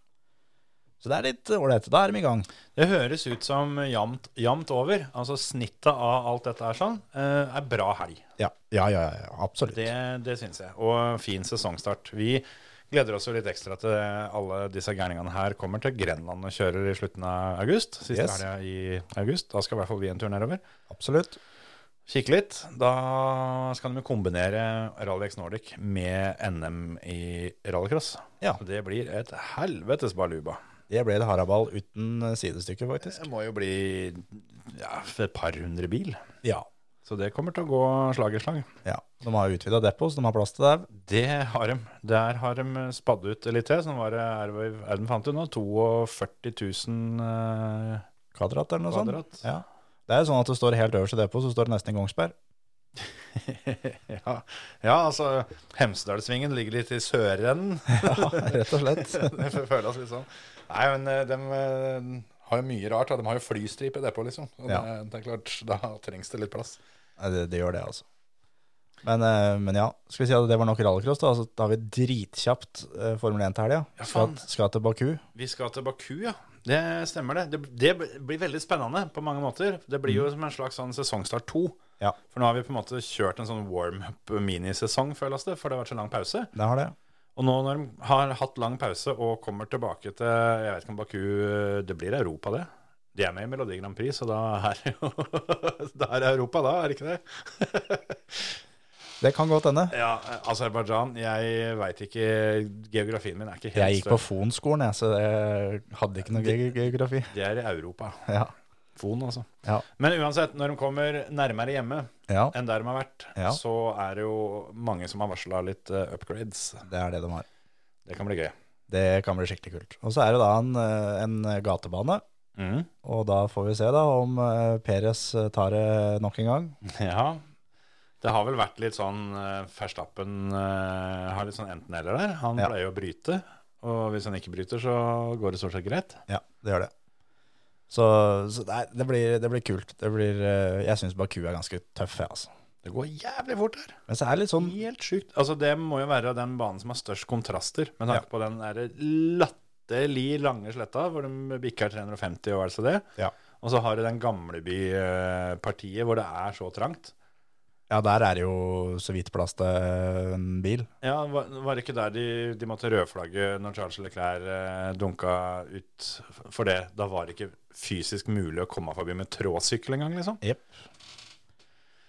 Speaker 4: Så det er litt ålreit. Da er de i gang.
Speaker 3: Det høres ut som jamt, jamt over. Altså snittet av alt dette her sånn eh, er bra helg.
Speaker 4: Ja, ja, ja, ja absolutt.
Speaker 3: Det, det syns jeg. Og fin sesongstart. Vi gleder oss jo litt ekstra til alle disse gærningene her kommer til Grenland og kjører i slutten av august. Siste
Speaker 4: Yes.
Speaker 3: helga i august. Da skal i hvert fall vi en tur nedover.
Speaker 4: Absolutt.
Speaker 3: Kikke litt. Da skal de jo kombinere Rally X Nordic med NM i rallycross.
Speaker 4: Ja.
Speaker 3: Det blir et helvetes baluba.
Speaker 4: Det ble det haraball uten sidestykke, faktisk.
Speaker 3: Det må jo bli ja, et par hundre bil.
Speaker 4: Ja.
Speaker 3: Så det kommer til å gå slag i slag.
Speaker 4: ja. De har utvida depot, så de har plass til det.
Speaker 3: Det har de. Der har de spadd ut litt til. Sånn var det er det- er det de fant ut nå. 42 000 eh,
Speaker 4: kvadrat eller noe
Speaker 3: Kvadrat.
Speaker 4: sånt. Ja. Det er jo sånn at det står helt øverst i depot, så står det nesten i Kongsberg.
Speaker 3: ja. ja, altså Hemsedalssvingen ligger litt i sørenden.
Speaker 4: Ja, rett og slett.
Speaker 3: Det føles litt sånn. Nei, men eh, de eh, har jo mye rart. da. De har jo flystripe i depot, liksom. Og
Speaker 4: Ja.
Speaker 3: det, det er klart, da trengs det litt plass.
Speaker 4: Nei, det, det gjør det, altså. Men, eh, men ja, skal vi si at det var nok rallycross, da. Altså, da har vi dritkjapt eh, Formel 1 til helga.
Speaker 3: Ja,
Speaker 4: skal,
Speaker 3: faen.
Speaker 4: skal til Baku.
Speaker 3: Vi skal til Baku, ja. Det stemmer, det. det. Det blir veldig spennende på mange måter. Det blir jo som en slags sånn sesongstart to.
Speaker 4: Mm. Ja.
Speaker 3: For nå har vi på en måte kjørt en sånn warm-up minisesong, føles det, for det har vært så lang pause.
Speaker 4: Det har det.
Speaker 3: Og nå når de har hatt lang pause og kommer tilbake til Jeg vet ikke om Baku Det blir Europa, det? De er med i Melodi Grand Prix, så da er det jo Da er det Europa, da, er det ikke det?
Speaker 4: Det kan godt hende.
Speaker 3: Ja, Aserbajdsjan Jeg veit ikke Geografien min er ikke helt
Speaker 4: Jeg gikk på Fon-skolen, jeg, så jeg hadde ikke noe ge- geografi.
Speaker 3: Det er i Europa.
Speaker 4: Ja.
Speaker 3: Fon, altså.
Speaker 4: Ja.
Speaker 3: Men uansett, når de kommer nærmere hjemme
Speaker 4: ja,
Speaker 3: enn der de har vært,
Speaker 4: Ja.
Speaker 3: så er det jo mange som har varsla litt eh, upgrades.
Speaker 4: det er det de har.
Speaker 3: Det kan bli gøy.
Speaker 4: Det kan bli skikkelig kult. Og så er det da en, eh, en gatebane,
Speaker 3: Mm.
Speaker 4: og da får vi se da om eh, Perez tar det nok en gang.
Speaker 3: Ja. Det har vel vært litt sånn eh, Verstappen eh, har litt sånn enten-eller der. Han
Speaker 4: Ja.
Speaker 3: pleier jo å bryte, og hvis han ikke bryter, så går det stort sett greit.
Speaker 4: Ja, det gjør det. Så, så nei, det, blir, det blir kult. Det blir, eh, jeg syns Baku er ganske tøff, jeg, altså.
Speaker 3: Det går jævlig fort her.
Speaker 4: Men så er det litt sånn
Speaker 3: Helt sjukt. Altså, det må jo være den banen som har størst kontraster, med tanke på den der latterlig lange sletta, hvor de bikker 350 og altså det.
Speaker 4: Ja.
Speaker 3: Og så har du den gamleby-partiet hvor det er så trangt.
Speaker 4: Ja, der er det jo så vidt plass til en bil.
Speaker 3: Ja, var, var det ikke der de, de måtte rødflagge når Charles Leclerc eh, dunka ut for det? Da var det ikke fysisk mulig å komme forbi med trådsykkel engang, liksom?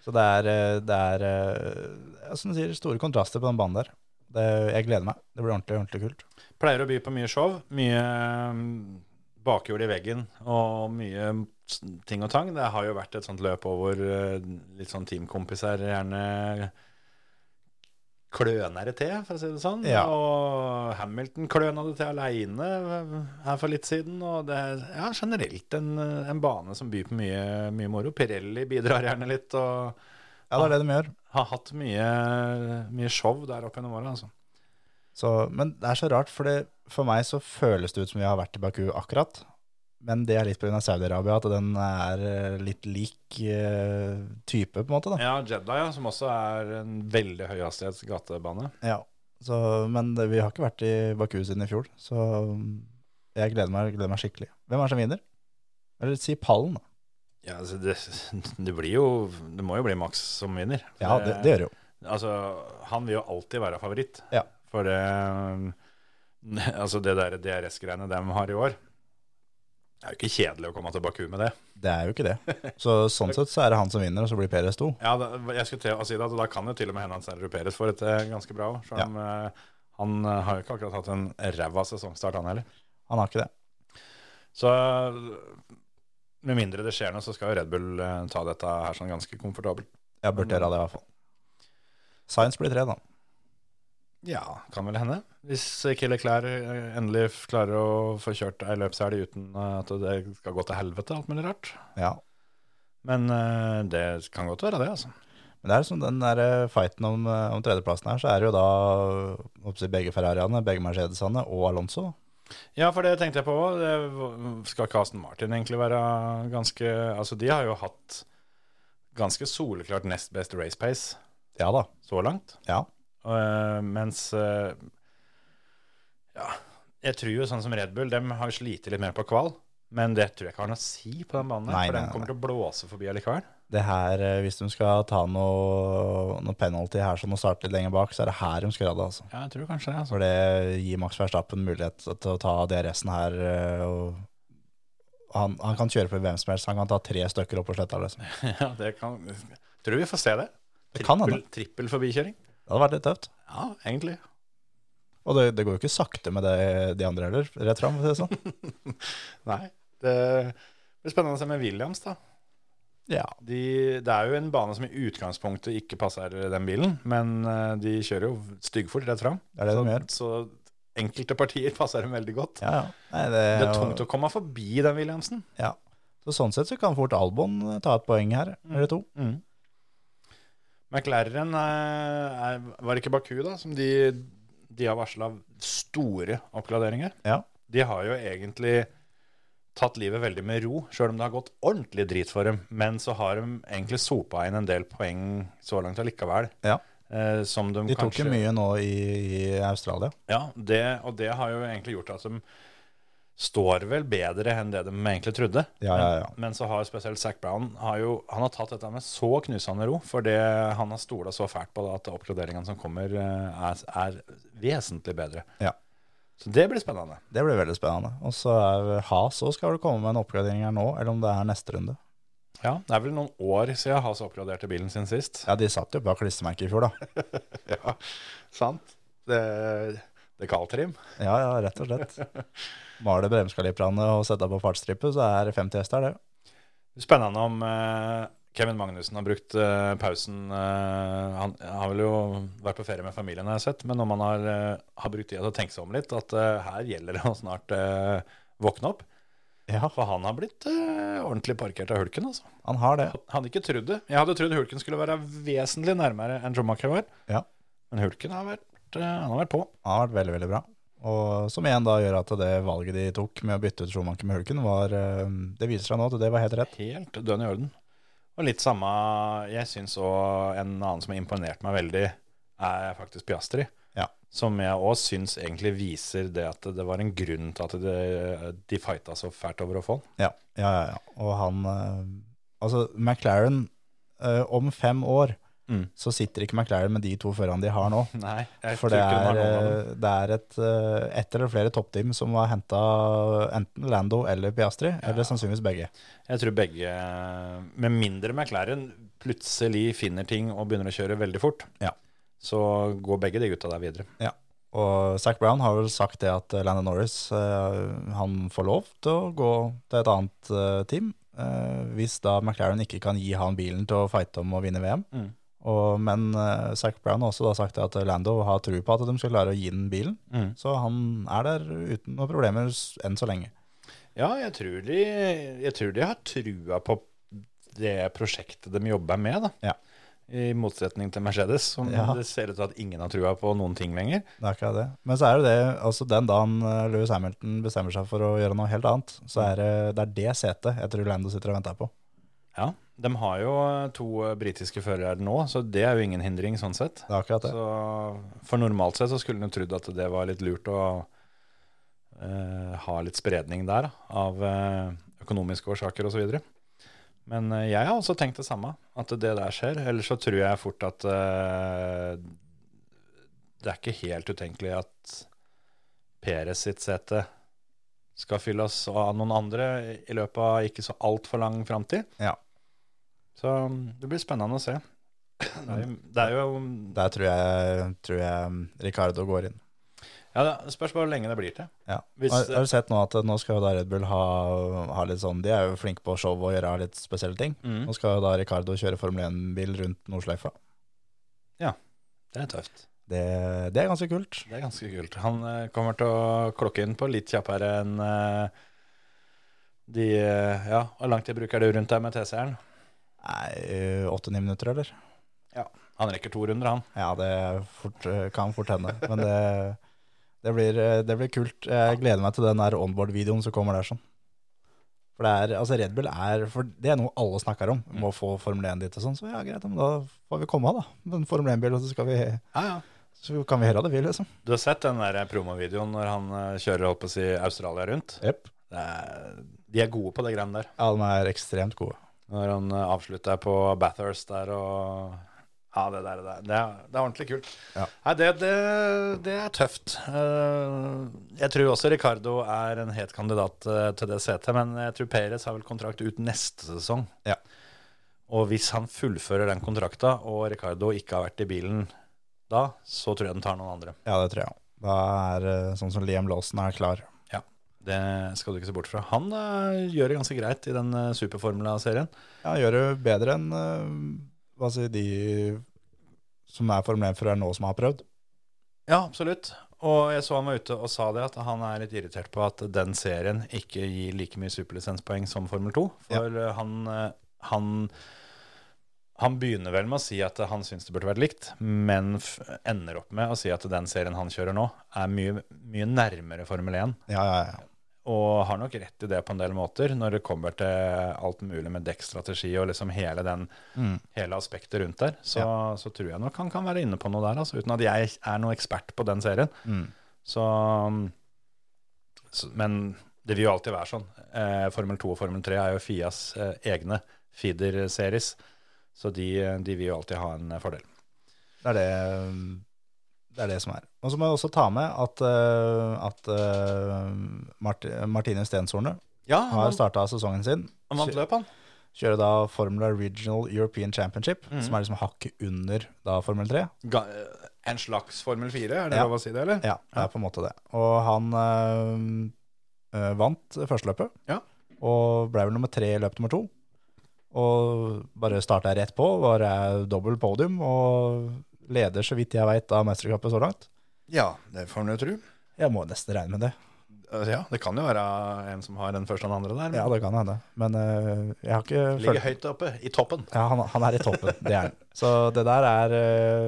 Speaker 4: Så det er, eh, det er eh, ja, som du sier, store kontraster på den banen der. Det, jeg gleder meg. Det blir ordentlig, ordentlig kult.
Speaker 3: Pleier å by på mye show, mye mm, bakhjul i veggen og mye s- ting og tang. Det har jo vært et sånt løp over eh, litt sånn teamkompiser gjerne kløner det til, for å si det sånn.
Speaker 4: Ja.
Speaker 3: Og Hamilton kløna det til aleine eh, her for litt siden. Og det er ja, generelt en, eh, en bane som byr på mye, mye moro. Pirelli bidrar gjerne litt, og
Speaker 4: Ja, det er det de gjør.
Speaker 3: har hatt mye, mye show der oppe gjennom åra, altså.
Speaker 4: Så, men det er så rart, for det, for meg så føles det ut som vi har vært i Baku akkurat. Men det er litt pga. Saudi-Arabia, at den er eh, litt lik eh, type, på en måte. da.
Speaker 3: Ja, Jeddah, ja, som også er en veldig høyhastighets gatebane.
Speaker 4: Ja. Så, men det, vi har ikke vært i Baku siden i fjor, så jeg gleder meg, gleder meg skikkelig. Hvem er det som vinner? Eller si pallen, da.
Speaker 3: Ja, altså det, det blir jo Det må jo bli Max som vinner.
Speaker 4: Ja, det, det gjør det jo.
Speaker 3: Altså, han vil jo alltid være favoritt.
Speaker 4: Ja.
Speaker 3: For det Altså, det der DRS-greiene de har i år Det er jo ikke kjedelig å komme til Baku med det.
Speaker 4: Det er jo ikke det. Så sånn sett så er det han som vinner, og så blir Perez to.
Speaker 3: Ja, da, jeg skulle til å si det, at da kan det til og med hende han Sergio Perez får et eh, ganske bra år. selv om, eh, Han eh, har jo ikke akkurat hatt en ræva sesongstart, han heller.
Speaker 4: Han har ikke det.
Speaker 3: Så med mindre det skjer noe, så skal jo Red Bull eh, ta dette her sånn ganske komfortabelt.
Speaker 4: Jeg burde gjøre det, i hvert fall. Science blir tre, da.
Speaker 3: Ja, kan vel hende. Hvis ikke Leclerc eh, endelig f- klarer å få kjørt ei løpshelg uten eh, at det skal gå til helvete, alt mulig rart.
Speaker 4: Ja.
Speaker 3: Men eh, det kan godt være det, altså.
Speaker 4: Men det er som den der eh, fighten om, eh, om tredjeplassen her, så er det jo da eh, oppsi, begge Ferrariene, begge Mercedesene og Alonso.
Speaker 3: Ja, for det tenkte jeg på òg. Skal ikke Aston Martin egentlig være ganske Altså, de har jo hatt ganske soleklart nest best race pace
Speaker 4: Ja da.
Speaker 3: så langt.
Speaker 4: Ja.
Speaker 3: Eh, mens eh, Ja, jeg tror jo sånn som Red Bull, dem har slitt litt mer på kval. Men det tror jeg ikke har noe å si på den banen, her,
Speaker 4: Nei,
Speaker 3: for
Speaker 4: nei,
Speaker 3: den kommer til å blåse forbi allikevel.
Speaker 4: Det her, eh, hvis de skal ta noe, noe penalty her som må starte litt lenger bak, så er det her de skal gjøre det, altså.
Speaker 3: Ja, jeg tror kanskje det. Altså.
Speaker 4: For det gir Max Verstappen mulighet til å ta DRS-en her, eh, og han, han kan kjøre på hvem som helst. Han kan ta tre stykker opp på sletta, liksom.
Speaker 3: Ja, det kan, tror vi får se det.
Speaker 4: Det kan hende.
Speaker 3: Trippel- Trippel forbikjøring.
Speaker 4: Det hadde vært litt tøft.
Speaker 3: Ja, egentlig.
Speaker 4: Og det, det går jo ikke sakte med det, de andre heller, rett fram. for å si det Sånn.
Speaker 3: Nei. Det blir spennende å se med Williams, da.
Speaker 4: Ja.
Speaker 3: De, det er jo en bane som i utgangspunktet ikke passer den bilen, men eh, de kjører jo styggfort rett fram.
Speaker 4: Det er det de gjør.
Speaker 3: Så enkelte partier passer dem veldig godt.
Speaker 4: Ja, ja. Nei, det,
Speaker 3: Det er tungt å komme forbi den Williamsen.
Speaker 4: Ja. Så sånn sett så kan fort Albon ta et poeng her,
Speaker 3: Mm.
Speaker 4: eller to.
Speaker 3: McLaren eh, er, var det ikke Baku, da, som de, de har varsla store oppgraderinger.
Speaker 4: Ja.
Speaker 3: De har jo egentlig tatt livet veldig med ro, sjøl om det har gått ordentlig drit for dem. Men så har de egentlig sopa inn en del poeng så langt allikevel.
Speaker 4: Ja.
Speaker 3: Eh, som de,
Speaker 4: De tok
Speaker 3: kanskje
Speaker 4: jo mye nå i, i Australia.
Speaker 3: Ja, det, og det har jo egentlig gjort at de står vel bedre enn det de egentlig trodde.
Speaker 4: Ja, ja, ja.
Speaker 3: Men, men så har spesielt Zac Brown har jo, han har tatt dette med så knusende ro, fordi han har stola så fælt på det at oppgraderingene som kommer, eh, er, er vesentlig bedre.
Speaker 4: Ja.
Speaker 3: Så det blir spennende.
Speaker 4: Det blir veldig spennende. Og så er Has òg skal vel komme med en oppgradering her nå, eller om det er neste runde.
Speaker 3: Ja, Det er vel noen år siden Has oppgraderte bilen sin sist.
Speaker 4: Ja, de satt jo bak klistremerket i fjor, da.
Speaker 3: Ja, sant. Det, det kaltrim.
Speaker 4: Ja, ja, rett og slett. Male bremskalibrene og sette på fartsstripe, så er det 50 hester, det.
Speaker 3: Spennende om eh, Kevin Magnussen har brukt eh, pausen eh, Han har vel jo vært på ferie med familien, har jeg sett, men om han har, eh, har brukt tida til å tenke seg om litt, at eh, her gjelder det å snart eh, våkne opp.
Speaker 4: Ja,
Speaker 3: For han har blitt eh, ordentlig parkert av hulken, altså.
Speaker 4: han har det.
Speaker 3: Hadde ikke trodd det. Jeg hadde trodd hulken skulle være vesentlig nærmere enn Schumacher var.
Speaker 4: Ja.
Speaker 3: Men hulken har vært, eh, han har vært på.
Speaker 4: Han har vært veldig, veldig bra. Og som igjen da gjør at det valget de tok med å bytte ut Schumacher med Hulken, var eh, Det viser seg nå at det var helt rett.
Speaker 3: Helt dønn i orden. Og litt samme Jeg syns òg en annen som har imponert meg veldig, er faktisk Piastri.
Speaker 4: Ja.
Speaker 3: Som jeg òg syns egentlig viser det at det var en grunn til at det, de fighta så fælt over å få han.
Speaker 4: Ja, ja, ja. ja. Og han eh, Altså, McLaren eh, Om fem år
Speaker 3: Mm.
Speaker 4: så sitter ikke McLaren med de to førerne de har nå.
Speaker 3: Nei, jeg
Speaker 4: For
Speaker 3: tror
Speaker 4: det
Speaker 3: ikke de har
Speaker 4: er,
Speaker 3: noen av dem.
Speaker 4: eh, det er et, eh, ett eller flere toppteam som har henta enten Lando eller Piastri, eller sannsynligvis begge.
Speaker 3: Jeg tror begge, med mindre McLaren, plutselig finner ting og begynner å kjøre veldig fort.
Speaker 4: Ja.
Speaker 3: Så går begge de gutta der videre.
Speaker 4: Og Zac Brown har vel sagt det at Landon Norris eh, han får lov til å gå til et annet eh, team eh, hvis da McLaren ikke kan gi han bilen til å fighte om å vinne VM.
Speaker 3: Mm.
Speaker 4: Og, men eh, Zac Brown har også da sagt det at Lando har tro på at de skal klare å gi den bilen,
Speaker 3: Mm.
Speaker 4: så han er der uten noen problemer s- enn så lenge.
Speaker 3: Ja, jeg tror, de, jeg tror de har trua på det prosjektet de jobber med, da.
Speaker 4: Ja.
Speaker 3: I motsetning til Mercedes, som
Speaker 4: Ja.
Speaker 3: det ser ut til at ingen har trua på noen ting lenger.
Speaker 4: Det er ikke det. Men så er det det, altså den dagen eh, Lewis Hamilton bestemmer seg for å gjøre noe helt annet, så er det det, er det setet jeg tror Lando sitter og venter på.
Speaker 3: Ja, De har jo to britiske førere nå, så det er jo ingen hindring sånn sett.
Speaker 4: Det er akkurat det.
Speaker 3: Så For normalt sett så skulle en jo trodd at det var litt lurt å eh, ha litt spredning der, da, av eh, økonomiske årsaker osv. Men eh, jeg har også tenkt det samme, at det der skjer. Ellers så tror jeg fort at eh, det er ikke helt utenkelig at Peres sitt sete skal fylles av noen andre i løpet av ikke så altfor lang framtid.
Speaker 4: Ja.
Speaker 3: Så det blir spennende å se. Det er jo, det er jo
Speaker 4: Der tror jeg, tror jeg Ricardo går inn.
Speaker 3: Ja, det spørs bare hvor lenge det blir til.
Speaker 4: Ja.
Speaker 3: Hvis- eh,
Speaker 4: har, har du sett nå at eh, nå skal jo da Red Bull ha, ha litt sånn De er jo flinke på show og gjøre litt spesielle ting.
Speaker 3: Mm.
Speaker 4: Nå skal jo da Ricardo kjøre Formel 1-bil rundt Nordsløyfa.
Speaker 3: Det er tøft.
Speaker 4: Det, det er ganske kult.
Speaker 3: Det er ganske kult. Han eh, kommer til å klokke inn på litt kjappere enn eh, de eh, Ja, hvor lang tid bruker du rundt deg med TCR-en?
Speaker 4: Nei, Åtte-ni minutter, eller?
Speaker 3: Han rekker to runder, han.
Speaker 4: Ja, det er fort, eh, kan fort hende. Men det, det, blir, eh, det blir kult. Jeg gleder meg til den der onboard-videoen som kommer der. sånn. For det er, altså Red Bull er for det er noe alle snakker om.
Speaker 3: Mm.
Speaker 4: Må få Formel 1 dit og sånn. Så ja, greit, men da får vi komme av, da. Med en Formel 1-bil, og så, skal vi,
Speaker 3: Ja, ja.
Speaker 4: så kan vi gjøre det vi, liksom.
Speaker 3: Du har sett den der eh, promovideoen når han eh, kjører holdt på å si Australia rundt?
Speaker 4: Yep.
Speaker 3: Det er, de er gode på det greiene der.
Speaker 4: Ja, de er ekstremt gode.
Speaker 3: Når han eh, avslutter på Bathurst der og Ja, det der, det der. Det er, det er ordentlig kult.
Speaker 4: Ja.
Speaker 3: Nei, det, det, det er tøft. Eh, Jeg tror også Ricardo er en het kandidat eh, til det setet, men jeg tror Perez har vel kontrakt ut neste sesong.
Speaker 4: Ja.
Speaker 3: Og hvis han fullfører den kontrakta, og Ricardo ikke har vært i bilen da, så tror jeg den tar noen andre.
Speaker 4: Ja, det tror jeg. Da er eh, sånn som Liam Lawson er klar.
Speaker 3: Det skal du ikke se bort fra. Han eh, gjør det ganske greit i den eh, superformula-serien.
Speaker 4: Ja, gjør det bedre enn eh, hva sier de som er Formel 1-førere nå, som har prøvd.
Speaker 3: Ja, absolutt. Og jeg så han var ute og sa det, at han er litt irritert på at den serien ikke gir like mye superlisenspoeng som Formel 2. For eh, han, eh, han, han begynner vel med å si at han syns det burde vært likt, men f ender opp med å si at den serien han kjører nå, er mye, mye nærmere Formel 1.
Speaker 4: Ja, ja, ja.
Speaker 3: Og har nok rett i det på en del måter, når det kommer til alt mulig med dekkstrategi og liksom hele, den,
Speaker 4: Mm,
Speaker 3: hele aspektet rundt der. Så, så tror jeg nok han kan være inne på noe der, altså, uten at jeg er noen ekspert på den serien.
Speaker 4: Mm.
Speaker 3: Så, så Men det vil jo alltid være sånn. Eh, Formel 2 og Formel 3 er jo Fias eh, egne feeder-series, så de, de vil jo alltid ha en fordel.
Speaker 4: Det er det eh, Det er det som er. Og så må jeg også ta med at, eh, at eh, Mart Martine Stenshorne
Speaker 3: Ja,
Speaker 4: har
Speaker 3: han,
Speaker 4: starta sesongen sin.
Speaker 3: han vant løp, han.
Speaker 4: Kjører da Formula Regional European Championship,
Speaker 3: Mm.
Speaker 4: som er liksom hakket under da Formel 3.
Speaker 3: Ga, eh, en slags Formel 4, er det
Speaker 4: Ja.
Speaker 3: lov å si det, eller?
Speaker 4: Ja, det er på en måte det. Og han eh, eh, vant førsteløpet,
Speaker 3: Ja.
Speaker 4: og ble vel nummer tre i løp nummer to. Og bare starta rett på, var eh, dobbelt podium, og leder, så vidt jeg veit, av mesterskapet så langt.
Speaker 3: Ja, det får man jo tro.
Speaker 4: Jeg må nesten regne med det.
Speaker 3: Altså, Ja, det kan jo være en som har den første og den andre der. Men
Speaker 4: Ja, det kan hende. Men eh, jeg har ikke
Speaker 3: ligger høyt oppe, i toppen.
Speaker 4: Ja, han, han er i toppen, det er han. Så det der er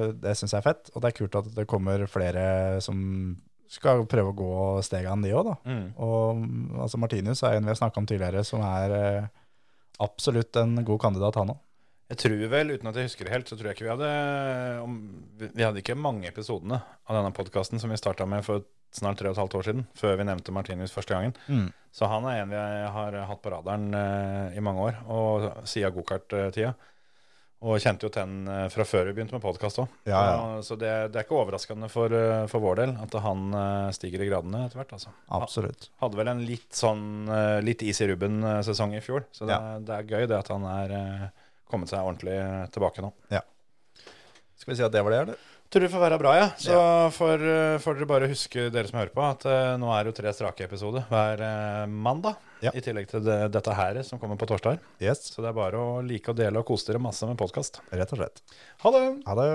Speaker 4: eh, Det syns jeg er fett, og det er kult at det kommer flere som skal prøve å gå stegene, de òg, da. Og mm, altså, Martinus er en vi har snakka om tidligere, som er eh, absolutt en god kandidat, han òg.
Speaker 3: Jeg tror vel, uten at jeg husker det helt, så tror jeg ikke vi hadde om, Vi vi hadde ikke mange episodene av denne podkasten som vi starta med for snart tre og et halvt år siden, før vi nevnte Martinius første gangen.
Speaker 4: Mm.
Speaker 3: Så han er en jeg har hatt på radaren eh, i mange år, og siden gokart-tida. Og kjente jo til den eh, fra før vi begynte med podkast òg.
Speaker 4: Ja, ja.
Speaker 3: Så det, det er ikke overraskende for, eh, for vår del at han eh, stiger i gradene etter hvert. altså.
Speaker 4: Absolutt.
Speaker 3: Hadde vel en litt sånn eh, litt is i rubben-sesong i fjor, så det,
Speaker 4: Ja.
Speaker 3: det er gøy det at han er eh, kommet seg ordentlig eh, tilbake nå.
Speaker 4: Skal vi si at det var det, eller?
Speaker 3: Tror det får være bra, ja. Så får, eh, får dere bare huske, dere som hører på, at eh, nå er det jo tre strake episoder hver eh, mandag.
Speaker 4: Ja.
Speaker 3: I tillegg til det, dette her som kommer på torsdag.
Speaker 4: Yes,
Speaker 3: Så det er bare å like og dele og kose dere masse med podkast.
Speaker 4: rett og slett.
Speaker 3: Ha det!
Speaker 4: Ha det.